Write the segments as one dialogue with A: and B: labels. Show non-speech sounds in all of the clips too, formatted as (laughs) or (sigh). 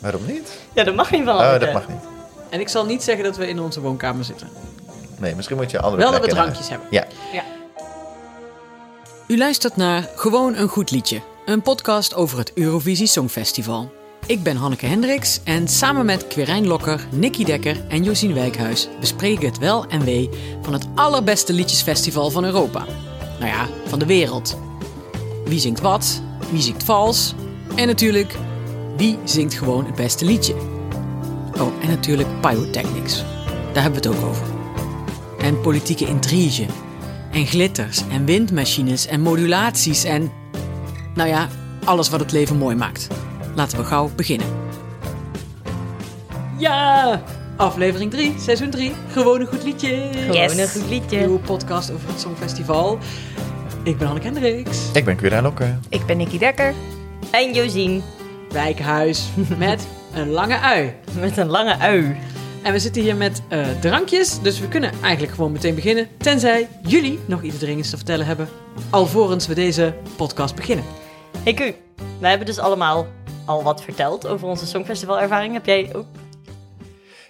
A: Waarom niet?
B: Ja, dat mag niet van
A: Oh,
B: Anneke.
A: dat mag niet.
C: En ik zal niet zeggen dat we in onze woonkamer zitten.
A: Nee, misschien moet je andere
C: Wel dat we
A: plekken naar-
C: drankjes hebben.
A: Ja.
C: U luistert naar Gewoon een Goed Liedje, een podcast over het Eurovisie Songfestival. Ik ben Hanneke Hendricks en samen met Quirijn Lokker, Nicky Dekker en Josien Wijkhuis bespreken we het wel en wee van het allerbeste liedjesfestival van Europa. Nou ja, van de wereld. Wie zingt wat, wie zingt vals en natuurlijk wie zingt gewoon het beste liedje. Oh, en natuurlijk pyrotechnics. Daar hebben we het ook over. En politieke intrige. En glitters en windmachines en modulaties en. Nou ja, alles wat het leven mooi maakt. Laten we gauw beginnen. Ja! Aflevering 3, seizoen 3. Gewoon een goed liedje.
B: Yes.
D: Gewoon een goed liedje.
C: Nieuwe podcast over het Songfestival. Ik ben Hanneke Hendricks.
A: Ik ben Quirijn Lokker.
D: Ik ben Nicky Dekker.
B: En Josien
C: Wijkhuis met een lange ui.
B: met een lange ui.
C: En we zitten hier met eh, drankjes, dus we kunnen eigenlijk gewoon meteen beginnen. Tenzij jullie nog iets dringends te vertellen hebben. Alvorens we deze podcast beginnen.
B: Hey Q, wij hebben dus allemaal al wat verteld over onze Songfestivalervaring. Heb jij ook?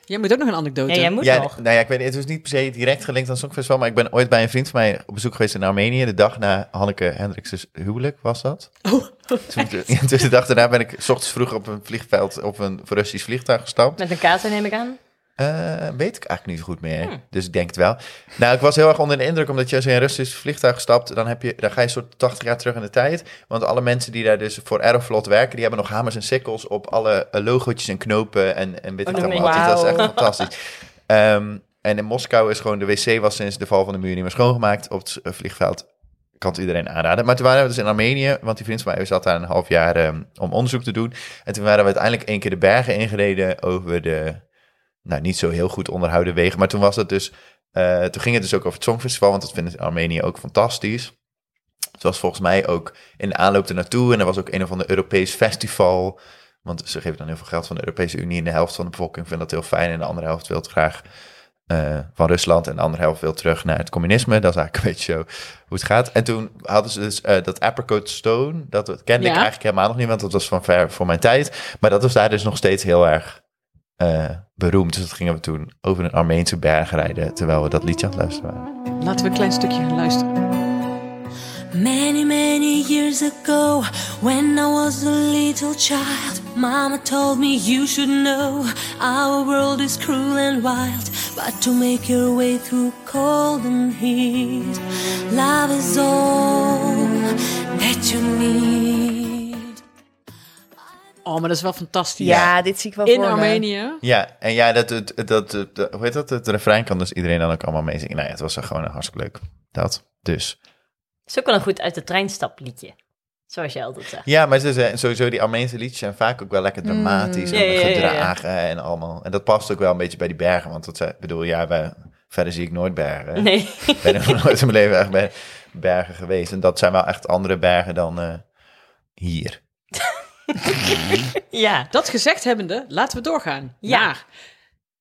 C: Jij moet ook nog een anekdote.
B: Ja, jij moet
A: Ja,
B: nog.
A: nou ja, ik weet, het is niet per se direct gelinkt aan Songfestival, maar ik ben ooit bij een vriend van mij op bezoek geweest in Armenië. De dag na Hanneke Hendricks' huwelijk was dat.
C: Oh.
A: Toen, (laughs) ja, dus de dag daarna ben ik 's ochtends vroeg op een vliegveld, op een Russisch vliegtuig gestapt.
B: Met een kater neem ik aan.
A: Eh, weet ik eigenlijk niet goed meer.
B: Hmm.
A: Dus ik denk het wel. Nou, ik was heel erg onder de indruk, omdat je als je in een Russisch vliegtuig stapt, dan, heb je, dan ga je soort 80 jaar terug in de tijd. Want alle mensen die daar dus voor Aeroflot werken, die hebben nog hamers en sikkels op alle eh, logootjes en knopen en, en weet
B: Oh,
A: ik het
B: nee.
A: allemaal. Dus dat is echt
B: Wauw.
A: fantastisch. Ehm, en in Moskou is gewoon, de wc was sinds de val van de muur niet meer schoongemaakt op het eh, vliegveld. Kan het iedereen aanraden. Maar toen waren we dus in Armenië, want die vriend van mij zat daar een half jaar ehm, om onderzoek te doen. En toen waren we uiteindelijk één keer de bergen ingereden over de nou, niet zo heel goed onderhouden wegen. Maar toen was het dus. eh, toen ging het dus ook over het Songfestival, want dat vinden ze in Armenië ook fantastisch. Het was volgens mij ook in de aanloop ernaartoe. En er was ook een of ander Europees festival. Want ze geven dan heel veel geld van de Europese Unie. En de helft van de bevolking vindt dat heel fijn. En de andere helft wil het graag eh, van Rusland. En de andere helft wil terug naar het communisme. Dat is eigenlijk een beetje zo hoe het gaat. En toen hadden ze dus eh, dat Apricot Stone. Dat kende ik
C: Ja.
A: eigenlijk helemaal nog niet, want dat was van ver voor mijn tijd. Maar dat was daar dus nog steeds heel erg eh, beroemd. Dus dat gingen we toen over een Armeense berg rijden. Terwijl we dat liedje aan het luisteren waren.
C: Laten we een klein stukje gaan luisteren.
E: Many, many years ago, when I was a little child, Mama told me you should know our world is cruel and wild. But to make your way through cold and heat, love is all that you need.
C: Oh, maar dat is wel fantastisch.
D: Ja, Ah, dit zie ik wel
C: In
D: voor me.
C: Armenië.
A: Ja, en ja, dat, dat, dat, dat- hoe heet dat? Het refrein kan dus iedereen dan ook allemaal meezingen. Nou ja, het was gewoon hartstikke leuk. Dat, dus.
B: Zo kan een goed uit de trein stapliedje. Zoals jij altijd zegt.
A: Ja, maar het is, eh, sowieso die Armeense liedjes zijn vaak ook wel lekker dramatisch
B: Mm. Ja,
A: en
B: ja, ja, ja.
A: gedragen en allemaal. En dat past ook wel een beetje bij die bergen, want dat zijn, ik bedoel, ja, wij, verder zie ik nooit bergen.
B: Nee. (laughs)
A: Ik ben nog nooit in mijn leven echt bij bergen geweest. En dat zijn wel echt andere bergen dan eh, hier.
B: ja.
C: Dat gezegd hebbende, laten we doorgaan.
B: Ja.
C: Naar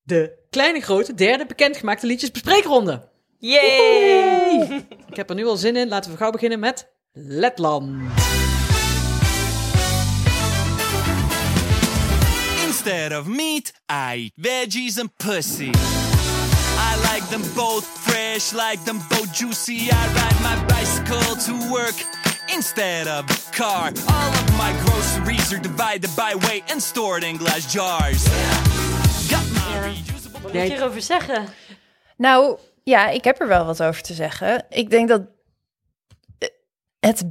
C: de kleine grote derde bekendgemaakte liedjes bespreekronde.
B: Yay!
C: Ik heb er nu al zin in. Laten we gauw beginnen met Letland.
F: Instead of meat, I eat veggies and pussy. I like them both fresh, like them both juicy. I ride my bicycle to work instead of a car. All of my groceries are divided by weight and stored in glass jars. Got my reusable
B: Wat moet je erover zeggen?
D: Nou, ja, ik heb er wel wat over te zeggen. Ik denk dat eh, het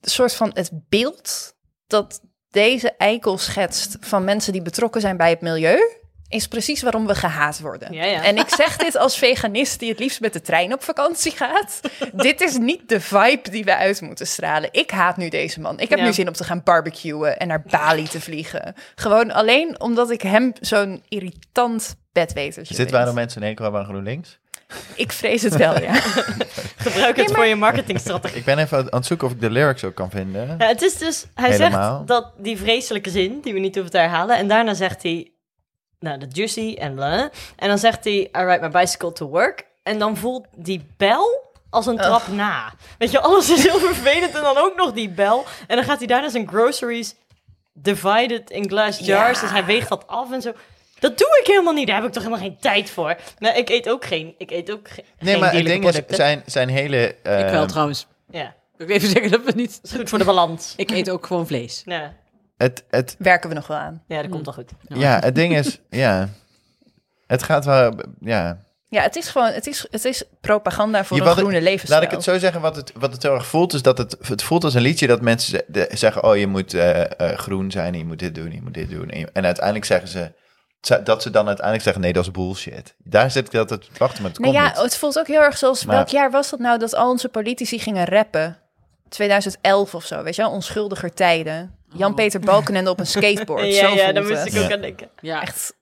D: soort van het beeld dat deze eikel schetst van mensen die betrokken zijn bij het milieu, is precies waarom we gehaat worden.
B: Ja, ja.
D: En ik zeg dit als veganist die het liefst met de trein op vakantie gaat. dit is niet de vibe die we uit moeten stralen. Ik haat nu deze man. Ik heb
B: Ja.
D: nu zin om te gaan barbecuen en naar Bali te vliegen. Gewoon alleen omdat ik hem zo'n irritant bedwetertje
A: Is dit
D: vind.
A: waarom nou mensen in één keer hebben aan GroenLinks?
D: Ik vrees het wel, ja.
B: Gebruik het voor je marketingstrategie.
A: Ik ben even aan het zoeken of ik de lyrics ook kan vinden.
B: Ja, het is dus, hij
A: Helemaal.
B: zegt dat die vreselijke zin, die we niet hoeven te herhalen. En daarna zegt hij, nou, de juicy en bla. En dan zegt hij, I ride my bicycle to work. En dan voelt die bel als een trap na. Weet je, alles is heel vervelend en dan ook nog die bel. En dan gaat hij daarna zijn groceries divided in glass jars. Dus hij weegt dat af en zo. Dat doe ik helemaal niet. Daar heb ik toch helemaal geen tijd voor. Maar ik eet ook geen. Ik eet ook ge-
A: Nee,
B: geen
A: maar het
B: dierlijke
A: ding is,
B: producten.
A: zijn, zijn hele... eh,
C: ik wel trouwens.
B: Ja,
C: Wil ik even zeggen dat we niet...
B: dat is goed voor de balans.
C: Ik eet ook gewoon vlees.
B: Ja,
A: het, het,
D: (laughs) Werken we nog wel aan.
B: ja dat komt wel goed.
A: ja, het ding
D: (laughs)
A: is, ja... Het gaat wel, ja...
D: Ja, het is gewoon, het is, het is propaganda voor
A: Ja,
D: een
A: wat ik-
D: groene levensstijl.
A: Laat ik het zo zeggen, wat het, wat het heel erg voelt, is dat het, het voelt als een liedje dat mensen ze- de- zeggen, oh je moet eh, eh, groen zijn, en je moet dit doen, je moet dit doen. En, je- en uiteindelijk zeggen ze, ze- dat ze dan uiteindelijk zeggen, nee dat is bullshit. Daar zit ik altijd te wachten, maar het
D: Nou
A: komt
D: ja,
A: niet.
D: het voelt ook heel erg zoals,
A: Maar-
D: welk jaar was dat nou dat al onze politici gingen rappen? 2011 of zo, weet je wel? Onschuldiger tijden. Jan-Peter
B: (laughs)
D: Balkenende op een skateboard,
B: Oh. ja,
D: zo
B: ja
D: voelt
B: daar moest
D: het.
B: ik ook
A: Ja.
B: aan denken.
C: Ja,
D: Echt,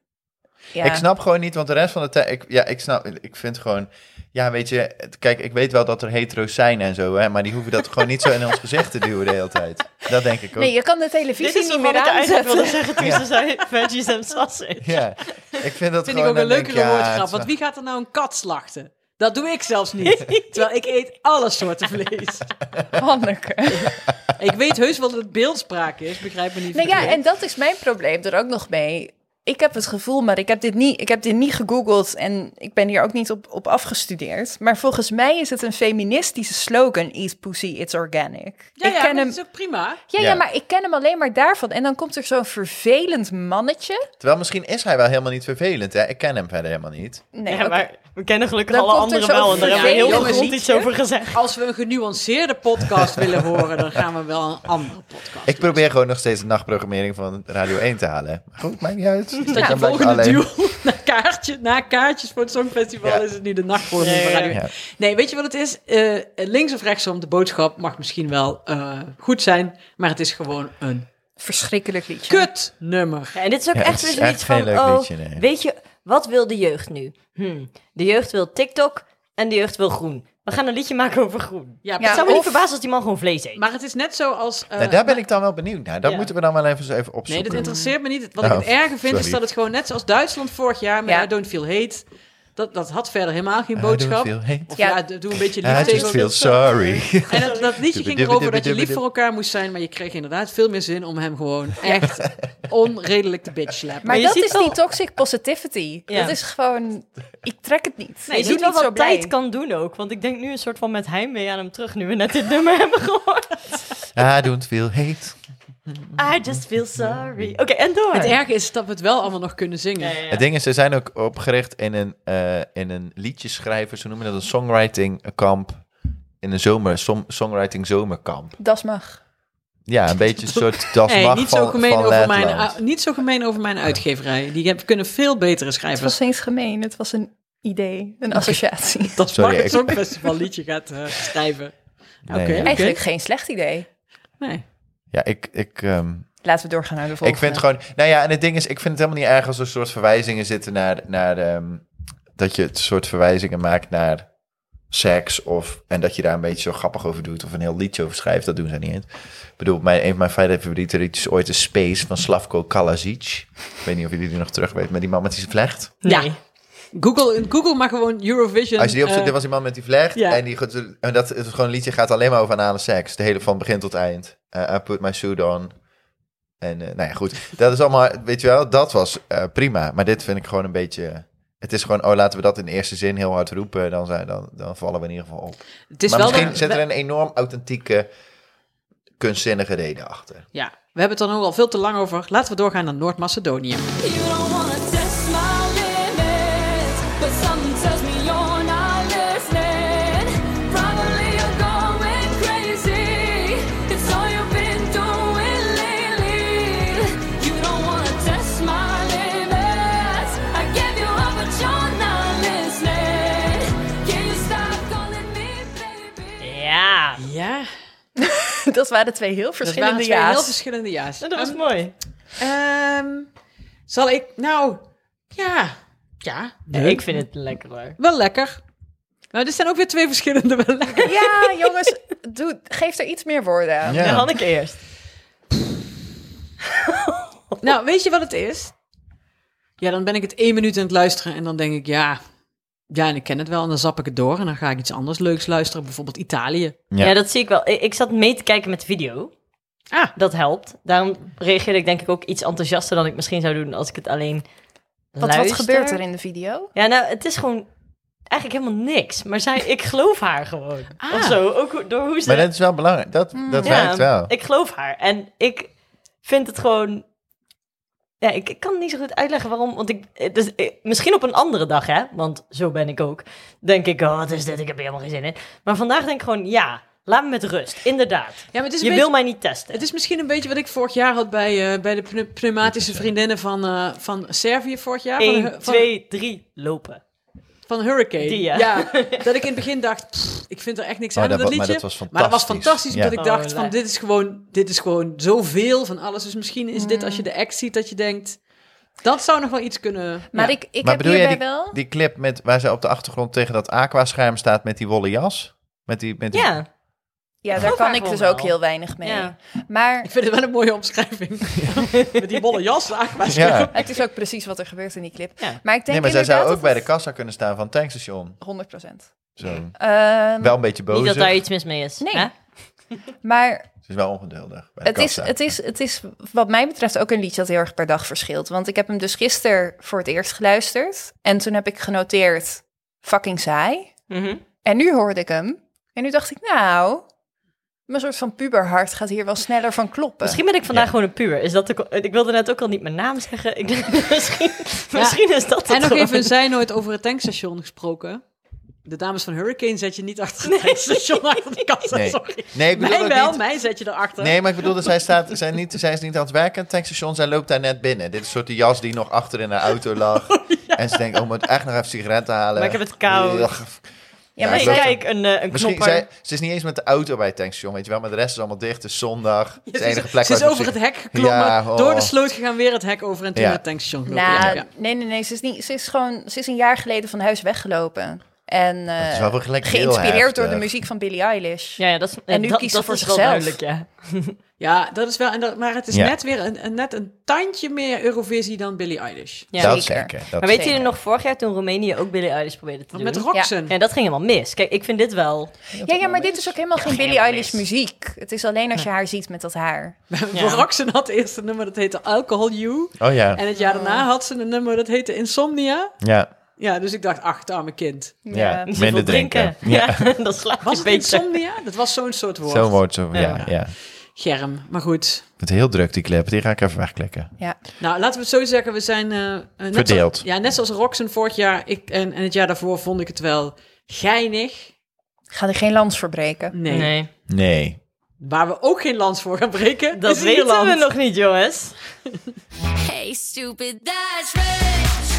D: ja.
A: Ik snap gewoon niet, want de rest van de tijd... Ik, ja, ik snap... Ik vind gewoon... Ja, weet je... het- Kijk, ik weet wel dat er hetero's zijn en zo, hè. Maar die hoeven dat gewoon niet zo in ons gezicht te duwen de hele tijd. Dat denk ik ook.
D: Nee, je kan de
B: Dit
D: televisie
B: is wat
D: niet
B: ik
D: meer
B: eigenlijk
D: aanzetten.
B: wilde zeggen toen ze zei (laughs) veggies en sausage.
A: Ja. Ik vind dat
C: vind
A: gewoon...
C: ik ook
A: dan
C: een
A: denk ik,
C: leukere
A: ja,
C: woordgrap.
A: het-
C: Want wie gaat er nou een kat slachten? Dat doe ik
A: (laughs)
C: zelfs niet. Terwijl ik eet alle soorten vlees.
D: (laughs) Hanneke.
C: Ik weet heus wel dat het beeldspraak is, begrijp me niet
D: Nou ja,
C: verkeerd.
D: en dat is mijn probleem er ook nog mee. Ik heb het gevoel, maar ik heb dit niet, ik heb dit niet gegoogeld en ik ben hier ook niet op, op afgestudeerd. Maar volgens mij is het een feministische slogan, eat pussy, it's organic.
C: ja,
D: ik
C: ja,
D: ken
C: maar
D: hem,
C: dat is ook prima.
D: ja, ja,
A: Ja.
D: maar ik ken hem alleen maar daarvan. En dan komt er zo'n vervelend mannetje.
A: Terwijl misschien is hij wel helemaal niet vervelend, hè. Ik ken hem verder helemaal niet.
D: Nee,
B: ja,
D: oké.
B: maar we kennen gelukkig
D: Dan
B: alle
D: komt er
B: anderen
D: zo'n
B: wel. En daar hebben we heel
D: vervelend
B: veel iets
D: liedje.
B: over gezegd.
C: Als we een genuanceerde podcast willen horen, dan gaan we wel een andere podcast.
A: Ik probeer gewoon nog steeds de nachtprogrammering van Radio 1 te halen. Maar goed, maakt niet uit. Dat
C: Dat je volgende duel (laughs) na, kaartje, na kaartjes voor het Songfestival
A: Ja.
C: is het nu de nachtvorming
B: Ja,
C: van
B: ja,
C: Radio
A: ja.
C: 1. Nee, weet je wat het is? Eh, links of rechtsom, de boodschap mag misschien wel eh, goed zijn, maar het is gewoon een
D: Verschrikkelijk liedje.
C: kut nummer.
B: Ja, en dit is ook
A: Ja,
B: echt
A: het is
B: weer
A: echt
B: iets
A: geen
B: van,
A: leuk
B: oh,
A: liedje, nee.
B: weet je, wat wil de jeugd nu? Hm, de jeugd wil TikTok en de jeugd wil groen. We gaan een liedje maken over groen.
C: Ja,
B: het zou me
D: of-
B: niet verbazen als die man gewoon vlees eet.
C: Maar het is net zoals... eh,
A: Nou, daar ben ik dan wel benieuwd naar. Dat
C: Ja.
A: moeten we dan wel even, even opzoeken.
C: Nee, dat interesseert me niet. Wat ik
A: Nou,
C: het erger vind, is
A: sorry.
C: dat het gewoon net zoals Duitsland vorig jaar met
D: Ja.
C: I Don't Feel Hate, dat, dat had verder helemaal geen
A: I don't
C: boodschap.
A: feel hate.
C: Of ja,
D: Ja.
C: doe doe een beetje lief
A: I
C: tegen
A: just feel sorry. (laughs)
C: En dat, dat liedje ging erover dat je lief voor elkaar moest zijn, maar je kreeg inderdaad veel meer zin om hem gewoon echt onredelijk te bitch slappen.
B: Maar
D: Maar,
B: je
D: dat
B: ziet
D: is
B: wel-
D: die toxic positivity.
B: Ja.
D: Dat is gewoon... Ik trek het niet.
B: nee, je
D: ik
B: ziet
D: ben
B: wel
D: niet zo
B: wat
D: blij.
B: tijd kan doen ook. Want ik denk nu een soort van met heimwee aan hem terug, nu we net dit (laughs) nummer hebben gehoord.
A: I don't feel hate.
B: I just feel sorry. Oké, en door.
C: Het erge is dat we het wel allemaal nog kunnen zingen.
B: Ja, ja, ja.
A: Het ding is, ze zijn ook opgericht in een, eh in een liedjeschrijver, ze noemen dat een songwriting kamp. In een zomer, som- songwriting zomerkamp.
D: Dat mag.
A: Ja, een beetje een
C: (laughs)
A: soort das
C: Hey,
A: mag
C: niet,
A: van,
C: zo gemeen
A: van
C: over mijn,
A: Letland.
C: ah, niet zo gemeen over mijn uitgeverij. Die heb- kunnen veel betere
D: Het
C: schrijvers.
D: was eens gemeen. Het was een idee, een associatie.
C: Dat
A: Sorry,
C: Mark
A: ik-
C: het Songfestival liedje gaat eh, schrijven. Oké.
A: Nee, ja.
C: Ah, oké.
D: Eigenlijk geen slecht idee.
C: Nee.
A: Ja, ik, ik, ehm,
D: Laten we doorgaan naar de
A: ik
D: volgende.
A: vind gewoon... Nou ja, en het ding is, ik vind het helemaal niet erg als er soort verwijzingen zitten naar... naar ehm, dat je het soort verwijzingen maakt naar seks of... En dat je daar een beetje zo grappig over doet of een heel liedje over schrijft. Dat doen ze niet eens. Ik bedoel, mijn, een van mijn vijf favoriete liedjes ooit is Space van Slavko Kalazic. Ik weet niet of jullie die nog terug weten, maar die man met die vlecht.
C: Ja.
B: Nee.
C: Google, Google mag gewoon Eurovision.
A: Als je die opzoekt,
C: eh,
A: dit was die man met die vlecht.
C: ja.
A: En, die, en dat het gewoon liedje gaat alleen maar over anale seks. De hele van begin tot eind. Eh, I put my suit on. En eh, nou ja, goed. Dat is allemaal, weet je wel, dat was eh, prima. Maar dit vind ik gewoon een beetje... Het is gewoon, oh, laten we dat in de eerste zin heel hard roepen. Dan, zijn, dan, dan vallen we in ieder geval op.
C: het is
A: maar
C: wel
A: misschien
C: de-
A: zit er een enorm authentieke, kunstzinnige reden achter.
C: Ja, we hebben het dan ook al veel te lang over. Laten we doorgaan naar Noord-Macedonië.
E: You don't wanna test my limits, but something tells me you're not listening. Probably you're going crazy. It's all you've been doing lately. You don't wanna test my limits. I gave you up, but you're not listening. Can you stop calling me baby?
B: Ja,
C: Ja,
D: (laughs) Dat waren twee heel
C: dat
D: verschillende
C: waren twee heel
D: ja's.
C: verschillende ja's.
B: dat was
C: Ehm,
B: mooi.
C: ehm, zal ik, nou, ja, ja,
B: Ja,
C: leuk.
B: ik vind het lekker hoor.
C: wel lekker. Nou, dit zijn ook weer twee verschillende wel
B: (laughs)
D: (laughs)
C: lekker.
D: Ja, jongens, doe, geef er iets meer woorden aan.
B: Ja. Hanneke eerst.
C: nou, weet je wat het is? Ja, dan ben ik het één minuut aan het luisteren en dan denk ik, ja, ja, en ik ken het wel en dan zap ik het door en dan ga ik iets anders leuks luisteren, bijvoorbeeld Italië.
B: Ja.
A: Ja.
B: dat zie ik wel. Ik, ik zat mee te kijken met de video.
C: Ah.
B: Dat helpt. Daarom reageerde ik denk ik ook iets enthousiaster dan ik misschien zou doen als ik het alleen
D: Want wat
B: luister.
D: gebeurt er in de video?
B: Ja, nou, het is gewoon eigenlijk helemaal niks. Maar zij, ik geloof haar gewoon.
C: Ah.
B: Of zo, ook hoe- door hoe ze...
C: eh,
A: Maar dat is wel belangrijk. Dat, dat
B: Ja,
A: werkt wel.
B: Ik geloof haar. En ik vind het gewoon... Ja, ik, ik kan het niet zo goed uitleggen waarom. Want ik, het is- eh, misschien op een andere dag, hè. Want zo ben ik ook. Denk ik, oh, wat is dit? Ik heb hier helemaal geen zin in. Maar vandaag denk ik gewoon, ja, laat me met rust. Inderdaad.
C: maar het is
B: Je
C: een
B: wil
C: beetje-
B: mij niet testen.
C: Het is misschien een beetje wat ik vorig jaar had bij, eh, bij de pneu- pneumatische vriendinnen van, eh, van Servië vorig jaar. van,
B: 1,
C: de- van,
B: 2, 3, lopen.
C: van Hurricane.
B: Die, ja.
C: ja. (laughs) dat ik in het begin dacht, pff, ik vind er echt niks
A: Oh,
C: aan
A: dat
C: in dat
A: wa- maar
C: liedje.
A: dat was
C: Maar dat was
A: fantastisch.
C: fantastisch,
A: Ja.
C: omdat ik dacht
B: Oh,
C: van,
B: leuk.
C: dit is, gewoon, dit is gewoon zoveel van alles. Dus misschien is dit, als je de act ziet, dat je denkt, dat zou nog wel iets kunnen.
D: Maar
C: ja.
D: ik, ik
A: maar
D: heb
A: bedoel jij
D: hierbij
A: die,
D: wel...
A: die clip met, waar ze op de achtergrond tegen dat aquascherm staat met die wollen jas? Met die, met die,
B: (laughs) Ja.
D: Ja, daar
B: geloof
D: kan
B: haar
D: ik
B: gewoon
D: dus ook
B: wel.
D: heel weinig mee.
B: Ja.
D: Maar
C: Ik vind het wel een mooie (laughs) omschrijving. Met die bolle jas aan.
A: Ja.
D: het is ook precies wat er gebeurt in die clip.
B: Ja.
D: Maar ik denk
A: Nee, maar zij zou
D: inderdaad
A: ook bij de kassa kunnen staan van het tankstation.
D: dat het- 100%.
A: Zo.
D: Ehm,
A: Wel een beetje boos.
B: Niet dat daar
A: Ze
B: iets mis mee is.
D: Nee.
B: hè?
D: maar
A: is wel ongeduldig. Bij de
D: het is,
A: kassa.
D: het, is, het is wat mij betreft ook een liedje dat heel erg per dag verschilt. Want ik heb hem dus gisteren voor het eerst geluisterd. En toen heb ik genoteerd, fucking saai.
B: Mhm.
D: En nu hoorde ik hem. En nu dacht ik, nou, mijn soort van puberhart gaat hier wel sneller van kloppen.
B: Misschien ben ik vandaag gewoon een puur. Is dat de, co- ik wilde net ook al niet mijn naam zeggen. Ik denk, (laughs) misschien, misschien is dat het
C: En nog
B: gewoon.
C: (laughs) even een zijnoot over het tankstation gesproken. De dames van Hurricane zet je niet achter het tankstation achter de kassa,
A: Nee.
C: sorry.
A: Nee, ik bedoel
C: Mij
A: ook
C: wel,
A: niet.
C: mij zet je erachter. (laughs)
A: Nee, maar ik bedoel dat zij, staat, zij, niet, zij is niet aan het werken aan het tankstation. Zij loopt daar net binnen. Dit is een soort die jas die nog achter in haar auto lag. En ze denkt, oh, ik moet echt nog even sigaretten halen.
B: Maar ik heb het koud.
A: Ugh.
D: ja,
A: maar ik
B: (laughs) Nee,
D: maar
A: geloof
B: kijk, een, eh, een
A: Misschien,
B: knopper.
A: zij, ze is niet eens met de auto bij het tankstation, weet je wel. Maar de rest is allemaal dicht. Het is zondag. Het is
C: Ze
A: de
C: is-
A: enige plek
C: ze is
A: waar
C: over
A: zich-
C: het hek geklommen,
A: Ja, oh.
C: door de sloot gegaan, weer het hek over en toen
A: Ja.
C: naar het tankstation gelopen.
D: Nou,
C: Ja, ja.
D: nee, nee, nee. Ze is, niet, ze is gewoon, ze is een jaar geleden van huis weggelopen. En eh,
A: Dat is wel wel gelijk heel
D: geïnspireerd door de
A: heftig.
D: muziek van Billie Eilish.
B: Ja, ja, dat is,
D: En nu
B: dat,
D: kiezen
B: dat
D: voor
B: is wel
D: zichzelf.
B: duidelijk, ja.
C: Ja, dat is wel, en dat, maar het is
A: Ja.
C: net weer een, een- net een tandje meer Eurovisie dan Billie Eilish.
B: Ja.
A: Dat
D: Zeker.
A: zeker. Dat
B: Maar weet
D: zeker.
B: jullie nog vorig jaar toen Roemenië ook Billie Eilish probeerde te
C: Want
B: doen?
C: met Roxen.
B: Ja, dat ging helemaal mis. Kijk, ik vind dit wel...
D: Ja, ja, maar dit is ook helemaal geen Billie
B: helemaal
D: Eilish
B: mis.
D: muziek. Het is alleen als je haar ziet met dat haar.
C: (laughs)
B: Ja.
C: Roxen had eerst een nummer dat heette Alcohol You.
A: Oh ja.
C: En het jaar daarna had ze een nummer dat heette Insomnia.
A: Ja.
C: Ja, dus ik dacht, ach, het arme kind.
A: Ja.
B: Ze
A: Minder
B: wil drinken.
A: drinken. (laughs) Ja.
B: Ja, (laughs) dat slaat
C: Was
B: een
C: het
B: beetje...
C: insomnia? Dat was zo'n soort woord.
A: Zo'n woord. Zo, ja,
B: Ja.
A: ja.
C: Germ, maar goed.
A: Het is heel druk, die clip. Die ga ik even wegklikken.
D: Ja.
C: Nou, laten we het zo zeggen. We zijn... eh, eh, net
A: Verdeeld.
C: zo- ja, net zoals Roxen vorig jaar ik, en, en het jaar daarvoor vond ik het wel geinig.
D: Ga er geen lans voor breken.
C: Nee.
B: Nee,
A: Nee.
C: Waar we ook geen lans voor gaan breken,
B: dat
C: is
B: weten
C: Ierland.
B: we nog niet, jongens.
E: Hey, stupid, that's rich.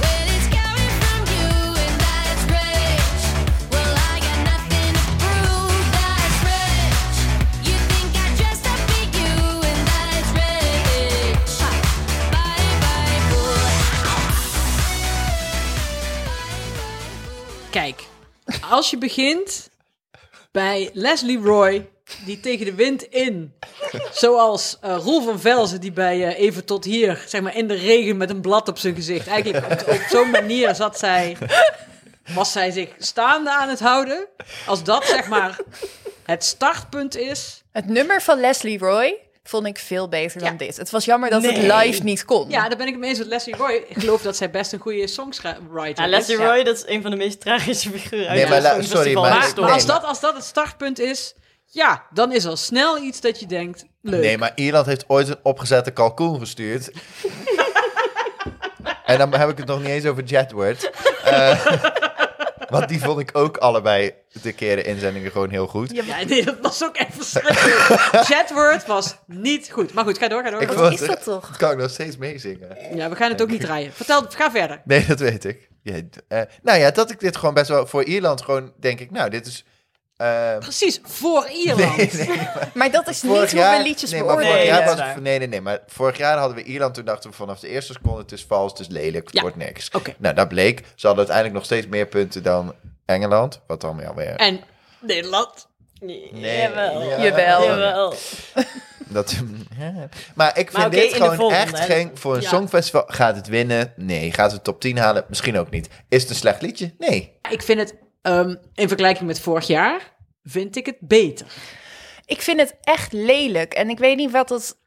E: Well, it's coming from you, and that's rich. Well, I got nothing to prove. That's rich. You think I dressed up for you, and that's rich. Bye, bye, boy.
C: Kijk, als je begint bij Leslie Roy, die tegen de wind in, zoals eh, Roel van Velzen, die bij eh, Even Tot Hier, zeg maar in de regen met een blad op zijn gezicht. Eigenlijk op, op zo'n manier zat zij, was zij zich staande aan het houden. Als dat zeg maar het startpunt is.
D: Het nummer van Leslie Roy vond ik veel beter dan dit. Het was jammer dat het live niet kon.
C: Ja, daar ben ik het mee eens met Leslie Roy. Ik geloof dat zij best een goede songwriter
B: Ja, Leslie
C: is.
B: Roy, dat is een van de meest tragische figuren uit
A: Nee,
B: het
A: maar la-
B: Songfestival
A: sorry, maar-
C: Maar,
B: historie.
C: maar als,
A: Nee, maar-
C: dat, als dat het startpunt is, ja, dan is al snel iets dat je denkt, leuk.
A: Nee, maar Ierland heeft ooit een opgezette kalkoen
D: (laughs)
A: gestuurd. en dan heb ik het nog niet eens over Jedward. Eh, (laughs) want die vond ik ook allebei de keren inzendingen gewoon heel goed.
C: Ja, nee, dat was ook echt verschrikkelijk. Jetword was niet goed. Maar goed, ga door, ga door.
A: Ik
D: Wat
A: vond-
D: is dat toch?
A: Dat (laughs) kan ik nog steeds meezingen.
C: Ja, we gaan het ook niet draaien. Vertel, ga verder.
A: Nee, dat weet ik. Ja, d- eh, nou ja, dat ik dit gewoon best wel voor Ierland gewoon denk ik, nou, dit is. eh,
C: Precies, voor Ierland.
D: Maar dat is
A: Vorig
D: niet hoe
A: jaar-
D: we liedjes
A: nee, maar
D: beoordelen.
A: vorig jaar
B: Nee,
A: was
B: dat is
A: het- nee, nee, nee. Maar vorig jaar hadden we Ierland. Toen dachten we vanaf de eerste seconde: het is vals, het is lelijk, het
C: Ja.
A: wordt niks.
C: Oké.
A: Nou, dat bleek. Ze hadden uiteindelijk nog steeds meer punten dan Engeland. Wat dan wel weer.
C: En Nederland.
A: Nee,
B: Jawel.
A: ja.
D: Jawel.
B: Jawel.
A: Dat, (laughs) maar ik vind
B: Maar oké, in
A: dit
B: de
A: gewoon
B: volgende,
A: echt
B: hè.
A: geen. Voor een
C: Ja.
A: songfestival gaat het winnen? Nee. Gaat het top 10 halen? Misschien ook niet. Is het een slecht liedje? Nee.
C: Ik vind het, ehm, in vergelijking met vorig jaar, vind ik het beter.
D: Ik vind het echt lelijk. En ik weet niet wat dat...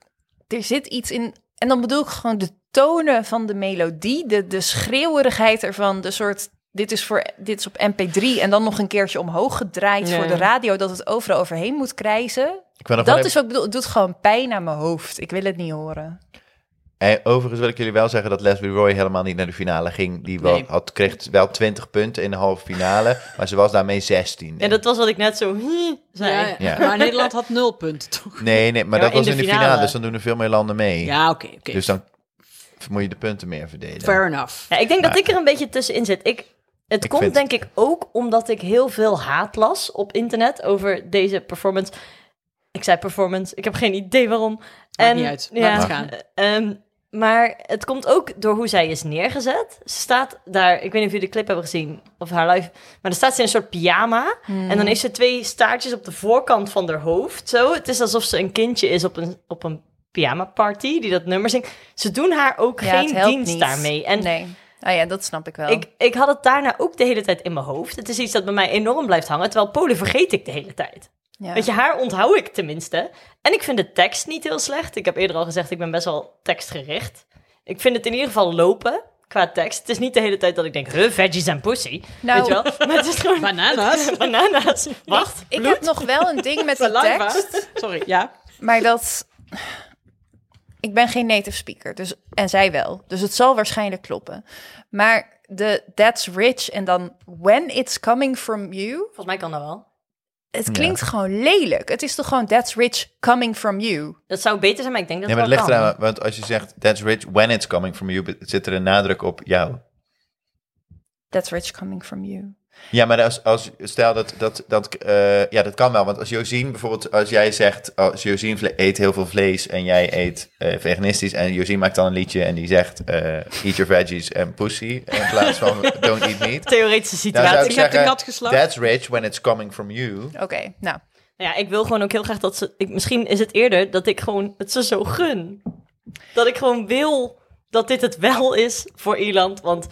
D: Er zit iets in... En dan bedoel ik gewoon de tonen van de melodie. De, de schreeuwerigheid ervan. De soort... Dit is, voor, dit is op mp3 en dan nog een keertje omhoog gedraaid
B: Ja.
D: voor de radio... dat het overal overheen moet krijzen.
A: Ik wil nog wel
D: Dat
A: even-
D: is ook bedoel, het doet gewoon pijn aan mijn hoofd. Ik wil het niet horen.
A: En overigens wil ik jullie wel zeggen dat Leslie Roy helemaal niet naar de finale ging. Die wel,
B: Nee.
A: had, kreeg wel 20 punten in de halve finale, (laughs) maar ze was daarmee 16.
B: En dat was wat ik net zo hm, zei.
C: Ja,
A: Ja.
C: Maar Nederland had nul
A: (laughs)
C: punten, toch?
A: Nee, nee, maar
B: Ja,
A: dat
B: in
A: was
B: de
A: in de finale,
B: finale.
A: dus dan doen er veel meer landen mee.
C: Ja, oké, oké.
A: Dus dan moet je de punten meer verdelen.
C: Fair enough.
B: Ja, ik denk dat ik er een beetje tussenin zit. Ik, het
A: Ik
B: komt
A: vind-
B: denk ik ook omdat ik heel veel haat las op internet over deze performance. Ik zei performance, ik heb geen idee waarom.
C: Maakt niet uit, laat het gaan.
B: ehm, maar het komt ook door hoe zij is neergezet. Ze staat daar, ik weet niet of jullie de clip hebben gezien of haar live, maar dan staat ze in een soort pyjama. En
C: Hmm.
B: dan heeft ze twee staartjes op de voorkant van haar hoofd. Zo, het is alsof ze een kindje is op een, op een pyjama party die dat nummer zingt. Ze doen haar ook
D: Ja, het
B: geen
D: helpt
B: dienst
D: niet.
B: daarmee. En
D: nee. Nou ja, dat snap ik wel.
B: ik, ik had het daarna ook de hele tijd in mijn hoofd. Het is iets dat bij mij enorm blijft hangen. Terwijl Polen vergeet ik de hele tijd.
D: ja.
B: Weet je, haar onthoud ik tenminste. En ik vind de tekst niet heel slecht. Ik heb eerder al gezegd, ik ben best wel tekstgericht. Ik vind het in ieder geval lopen qua tekst. Het is niet de hele tijd dat ik denk, huh, veggies en pussy.
D: Nou.
B: Weet je
D: (laughs)
B: wel? Maar het is gewoon (laughs)
C: Bananas.
B: bananas. Wacht.
D: ik heb nog wel een
B: (laughs)
D: ding met die
C: Saliva.
D: tekst.
C: Sorry, ja.
D: Maar dat. Ik ben geen native speaker, dus, en zij wel. Dus het zal waarschijnlijk kloppen. Maar de that's rich en dan when it's coming from you.
B: Volgens mij kan dat wel.
D: Het klinkt gewoon lelijk. Het is toch gewoon that's rich coming from you.
B: Dat zou beter zijn, maar ik denk dat
A: Nee, maar het
B: het wel
A: ligt
B: kan.
A: eraan, want als je zegt that's rich when it's coming from you, zit er een nadruk op jou.
D: That's rich coming from you.
A: Ja, maar als, als stel dat dat, dat eh, ja, dat kan wel. Want als Josien bijvoorbeeld, als jij zegt, als Josien vle- eet heel veel vlees en jij eet eh, veganistisch en Josien maakt dan een liedje en die zegt eh, eat your veggies and pussy in plaats van (laughs) don't eat meat.
B: Theoretische
A: Dan
B: situatie.
A: zou
C: ik heb de kat geslacht.
A: That's rich when it's coming from you.
D: Oké, nou.
B: Nou Ja, ik wil gewoon ook heel graag dat ze. Ik, misschien is het eerder dat ik gewoon het ze zo gun. Dat ik gewoon wil dat dit het wel is voor Ierland. Want,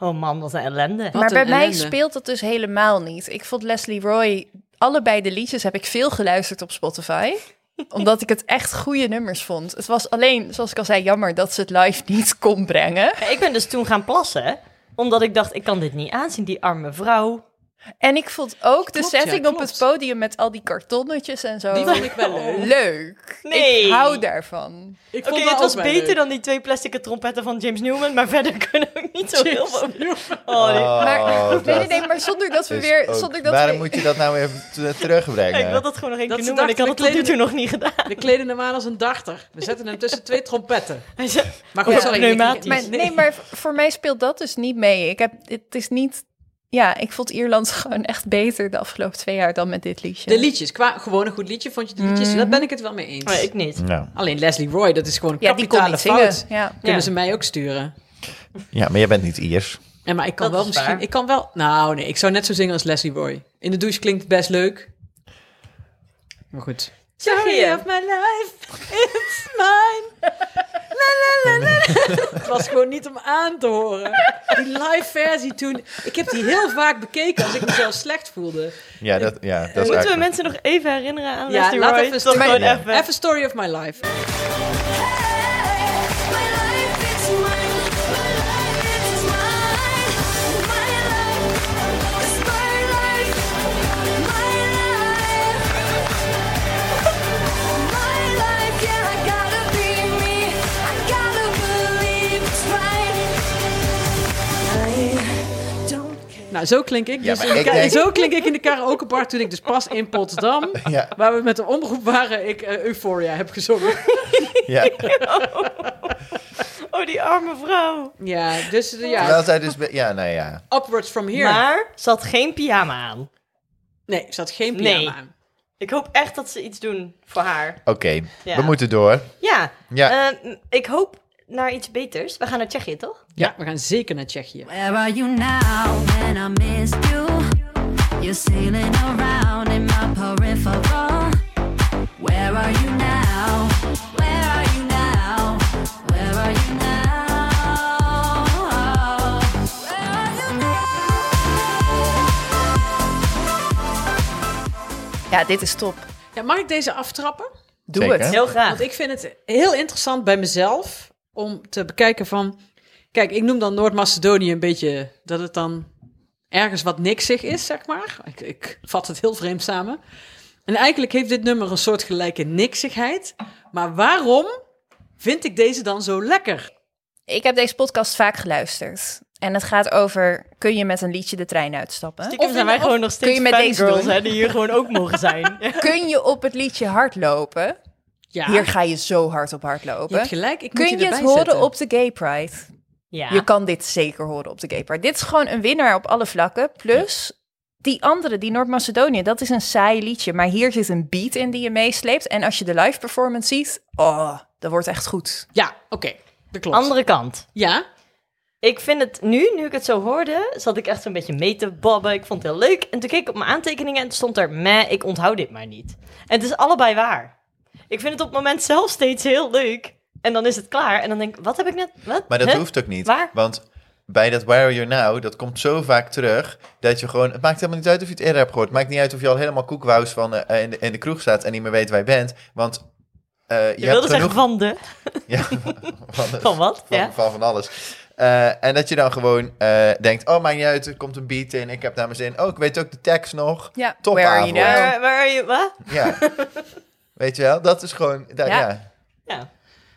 B: oh man, wat een ellende.
C: Wat
D: maar bij
C: een
D: mij
C: ellende.
D: speelt dat dus helemaal niet. Ik vond Leslie Roy, allebei de liedjes heb ik veel geluisterd
C: (laughs)
D: op Spotify. omdat ik het echt goede nummers vond. Het was alleen, zoals ik al zei, jammer dat ze het live (laughs) niet kon brengen.
B: Ja, ik ben dus toen gaan plassen. hè, Omdat ik dacht, ik kan dit niet aanzien, die arme vrouw.
D: En ik vond ook de
C: Klopt, ja,
D: setting op
C: klopt.
D: het podium met al die kartonnetjes en zo.
C: Die vond ik wel leuk.
D: Leuk.
B: Nee.
D: Ik hou daarvan.
C: Ik
B: Oh. Oké,
C: vond dat
B: het
C: ook
B: was
C: wel
B: beter
C: leuk.
B: dan die twee plastic trompetten van James Newman. Maar verder (laughs) kunnen we niet zo heel veel. Oh, nee.
D: Maar,
C: (laughs)
A: Oh,
D: (laughs) nee, nee,
A: dat
D: nee, maar zonder dat we
A: is
D: weer...
A: Dus ook-
D: Zonder dat
A: Waarom
D: we,
A: moet je dat nou even t- terugbrengen?
B: Ja, (laughs) ik wil dat gewoon nog één
C: Dat
B: keer
C: ze
B: noemen. want Ik
C: dachten,
B: had
C: we
B: het tot nu
C: kleden-
B: toe nog niet gedaan.
C: We kleden hem aan als een darter. We zetten hem tussen twee trompetten.
B: Hij zei-
C: Maar goed,
B: Ja,
C: sorry.
B: pneumatisch.
C: ik-
D: maar,
C: ik-
D: nee. maar voor mij speelt dat dus niet mee. Ik heb, het is niet... Ja, ik vond Ierland (laughs) gewoon echt beter de afgelopen twee jaar dan met dit liedje.
C: De liedjes. Qua gewoon een goed liedje vond je de liedjes. Daar ben ik het wel mee eens.
B: Maar ik niet.
A: Nou,
C: Alleen Leslie Roy, dat is gewoon een
D: ja, die kon
C: kapitale
D: niet
C: fout.
D: zingen. Ja.
C: Kunnen
B: Ja.
C: ze mij ook sturen.
A: ja, maar jij bent niet Iers.
C: En maar ik kan
B: Dat
C: wel
B: is
C: misschien...
B: waar.
C: Ik kan wel... Nou nee, ik zou net zo zingen als Leslie Roy. In de douche klinkt het best leuk. Maar goed.
B: Tsjechië.
C: my life, it's mine. La, la, la, la, la. Het was gewoon niet om aan te horen. Die live versie toen... Ik heb die heel vaak bekeken als ik mezelf slecht voelde.
A: Ja, dat, ja, dat is
B: Moeten we
A: eigenlijk-
B: mensen nog even herinneren aan
C: Ja,
B: Leslie
C: laat
B: Roy?
C: even
B: Toch
C: story-
B: gewoon
A: Ja.
B: even.
C: Even story of my life.
E: My life is mine. My life is mine. My life is my life. My life. My life, yeah, I gotta be me. I gotta believe it's right. I don't care.
C: Nou, zo klink ik
A: Ja,
C: dus.
A: maar
C: in de
A: ik
C: ka-
A: denk-
C: Zo klink ik in de karaokebar toen ik dus pas in Potsdam,
A: Ja.
C: waar we met een omroep waren, ik eh, Euphoria heb gezongen.
B: (laughs)
A: Ja.
B: Oh, die arme vrouw.
C: (laughs) Ja, dus eh, ja,
A: Terwijl zij dus... be- Ja, nou ja.
C: upwards from here.
B: Maar ze had geen pyjama aan.
C: Nee, er zat geen pyjama
B: Nee.
C: aan.
B: Ik hoop echt dat ze iets doen voor haar.
A: Oké,
B: Ja.
A: we moeten door.
B: Ja,
A: Ja.
B: ehm, ik hoop naar iets beters. We gaan naar Tsjechië, toch?
C: Ja, we gaan zeker naar Tsjechië.
E: Where are you now when I miss you? You're sailing around in my peripheral. Where are you now? Where are you now? Where are you now? Where are you now?
D: ja, dit is top.
C: Ja, mag ik deze aftrappen?
D: Doe
A: Zeker.
D: het.
B: Heel graag.
C: Want ik vind het heel interessant bij mezelf om te bekijken van... Kijk, ik noem dan Noord-Macedonië een beetje dat het dan ergens wat niksig is, zeg maar. Ik, ik vat het heel vreemd samen. En eigenlijk heeft dit nummer een soort gelijke niksigheid. Maar waarom vind ik deze dan zo lekker?
D: Ik heb deze podcast vaak geluisterd. En het gaat over, kun je met een liedje de trein uitstappen?
B: Stiekem
C: Of
B: zijn
C: in-
B: wij
C: of
B: gewoon nog
D: kun
B: steeds
D: je met deze
B: fangirls,
D: doen?
B: hè, die hier gewoon (laughs) ook mogen zijn.
D: Kun je op het liedje hardlopen?
C: Ja,
D: Hier ga je zo hard op
C: je hebt
D: hardlopen.
C: gelijk. Ik moet
D: Kun je
C: erbij
D: het horen
C: zetten.
D: op de Gay Pride?
B: ja.
D: Je kan dit zeker horen op de Gay Pride. Dit is gewoon een winnaar op alle vlakken. Plus die andere, die Noord-Macedonië, dat is een saai liedje. Maar hier zit een beat in die je meesleept. En als je de live performance ziet, oh, dat wordt echt goed.
C: Ja, oké. Dat klopt.
B: Andere kant.
C: Ja,
B: Ik vind het nu, nu ik het zo hoorde, zat ik echt zo'n beetje mee te babben. Ik vond het heel leuk. En toen keek ik op mijn aantekeningen en toen stond er, meh, ik onthoud dit maar niet. En het is allebei waar. Ik vind het op het moment zelf steeds heel leuk. En dan is het klaar. En dan denk ik, wat heb ik net? Wat?
A: Maar dat
B: Huh?
A: hoeft ook niet.
B: Waar?
A: Want bij dat Where Are You Now, dat komt zo vaak terug dat je gewoon... Het maakt helemaal niet uit of je het eerder hebt gehoord. Het maakt niet uit of je al helemaal koekwous van eh, in, de, in de kroeg staat en niet meer weet waar je bent. Want eh, je,
B: Je
A: hebt
B: wilde
A: genoeg...
B: zeggen van de,
A: Ja, van,
B: van wat?
A: van,
B: ja.
A: van, van alles. Eh, en dat je dan gewoon eh, denkt, oh, maakt niet uit, er komt een beat in, ik heb daar mijn zin. Oh, ik weet ook de tekst nog.
D: Ja,
A: Top
D: Where Are You
A: avond.
D: Now?
B: Waar, waar are you- wat?
A: Ja. weet je wel, dat is gewoon... daar-
D: Ja.
A: ja.
B: Ja.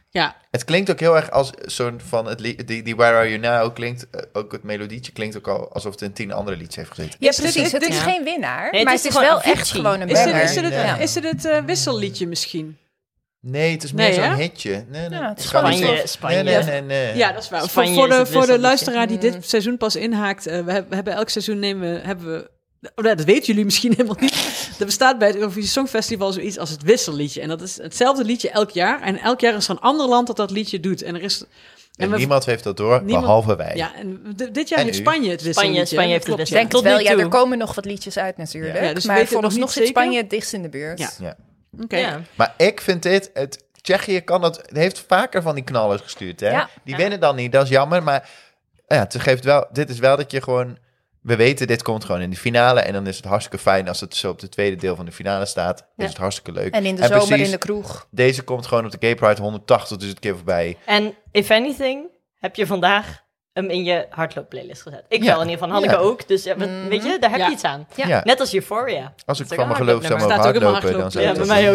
C: ja.
A: Het klinkt ook heel erg als zo'n van het lied, die, die Where Are You Now klinkt, eh, ook het melodietje klinkt ook al alsof het in tien andere liedjes heeft gezeten.
D: Ja,
C: Is dit-
D: precies.
C: is
D: Het
C: dit-
D: is
C: ja.
D: geen winnaar,
B: het
D: maar
B: is
D: het is
B: gewoon
D: wel
B: Avicii.
D: echt gewoon een
C: Is dit,
D: winnaar.
C: is dit, het,
A: Ja.
C: is dit het eh, wisselliedje misschien?
A: Nee, het is meer
C: Nee,
A: zo'n
C: hè?
A: hitje. Nee, nee.
D: Ja, het is
A: Ik kan niet
B: Spanje,
A: zo-
B: Spanje.
A: Nee, nee, nee. nee.
C: Ja, dat is Mm. waar.
B: Spanje
C: voor voor
B: is
C: de,
B: het
C: voor de
B: wisselliedje.
C: luisteraar die dit seizoen pas inhaakt, eh, we, hebben, we hebben elk seizoen nemen, we- hebben we. Oh, nou, dat weten jullie misschien (laughs) helemaal niet. Er bestaat bij het Eurovisie Songfestival zoiets als het wisselliedje. En dat is hetzelfde liedje elk jaar. En elk jaar is er een ander land dat dat liedje doet. En er is.
A: En
C: we-
A: niemand heeft dat door,
C: Niemand-
A: behalve wij.
C: Ja, en d- dit jaar
A: En
C: heeft
A: u?
C: Spanje het wisselliedje.
B: Spanje
C: hè?
B: heeft
C: Dat
B: het
C: klopt,
D: Denk
B: Tot
D: het wel.
B: nu
D: Ja,
B: toe.
D: er komen nog wat liedjes uit
C: Ja,
D: natuurlijk.
C: dus we weten
D: maar
C: het nog
D: vooralsnog
C: niet
D: zit
C: zeker.
D: Spanje het dichtst in de buurt.
C: Ja.
A: Ja.
C: ja. Oké.
B: Ja.
A: Maar ik vind dit, het, Tsjechië kan dat, heeft vaker van die knallers gestuurd. Hè?
D: Ja.
A: Die winnen dan niet, dat is jammer. Maar ja, het geeft wel, dit is wel dat je gewoon, we weten dit komt gewoon in de finale. En dan is het hartstikke fijn als het zo op het tweede deel van de finale staat.
B: Ja.
A: Is het hartstikke leuk.
D: En in de zomer
A: precies,
D: in de kroeg.
A: Deze komt gewoon op de Gay Pride 180, dus het keer voorbij.
B: En if anything, heb je vandaag hem in je hardloopplaylist gezet. Ik
A: Ja.
B: wel in ieder geval, Hanneke
A: Ja.
B: ook. Dus ja, we- weet je, daar heb je
C: Ja.
B: iets aan.
A: Ja.
D: Ja.
B: Net als Euphoria.
A: Als ik
B: Dat is
A: van
B: ook
A: mijn
B: een
A: geloof zou
B: hardloopnummer.
A: mogen
C: Staat ook in mijn
A: hardlopen, dan zou
B: Ja,
A: ik
B: bij
A: dat
B: mij
A: doen.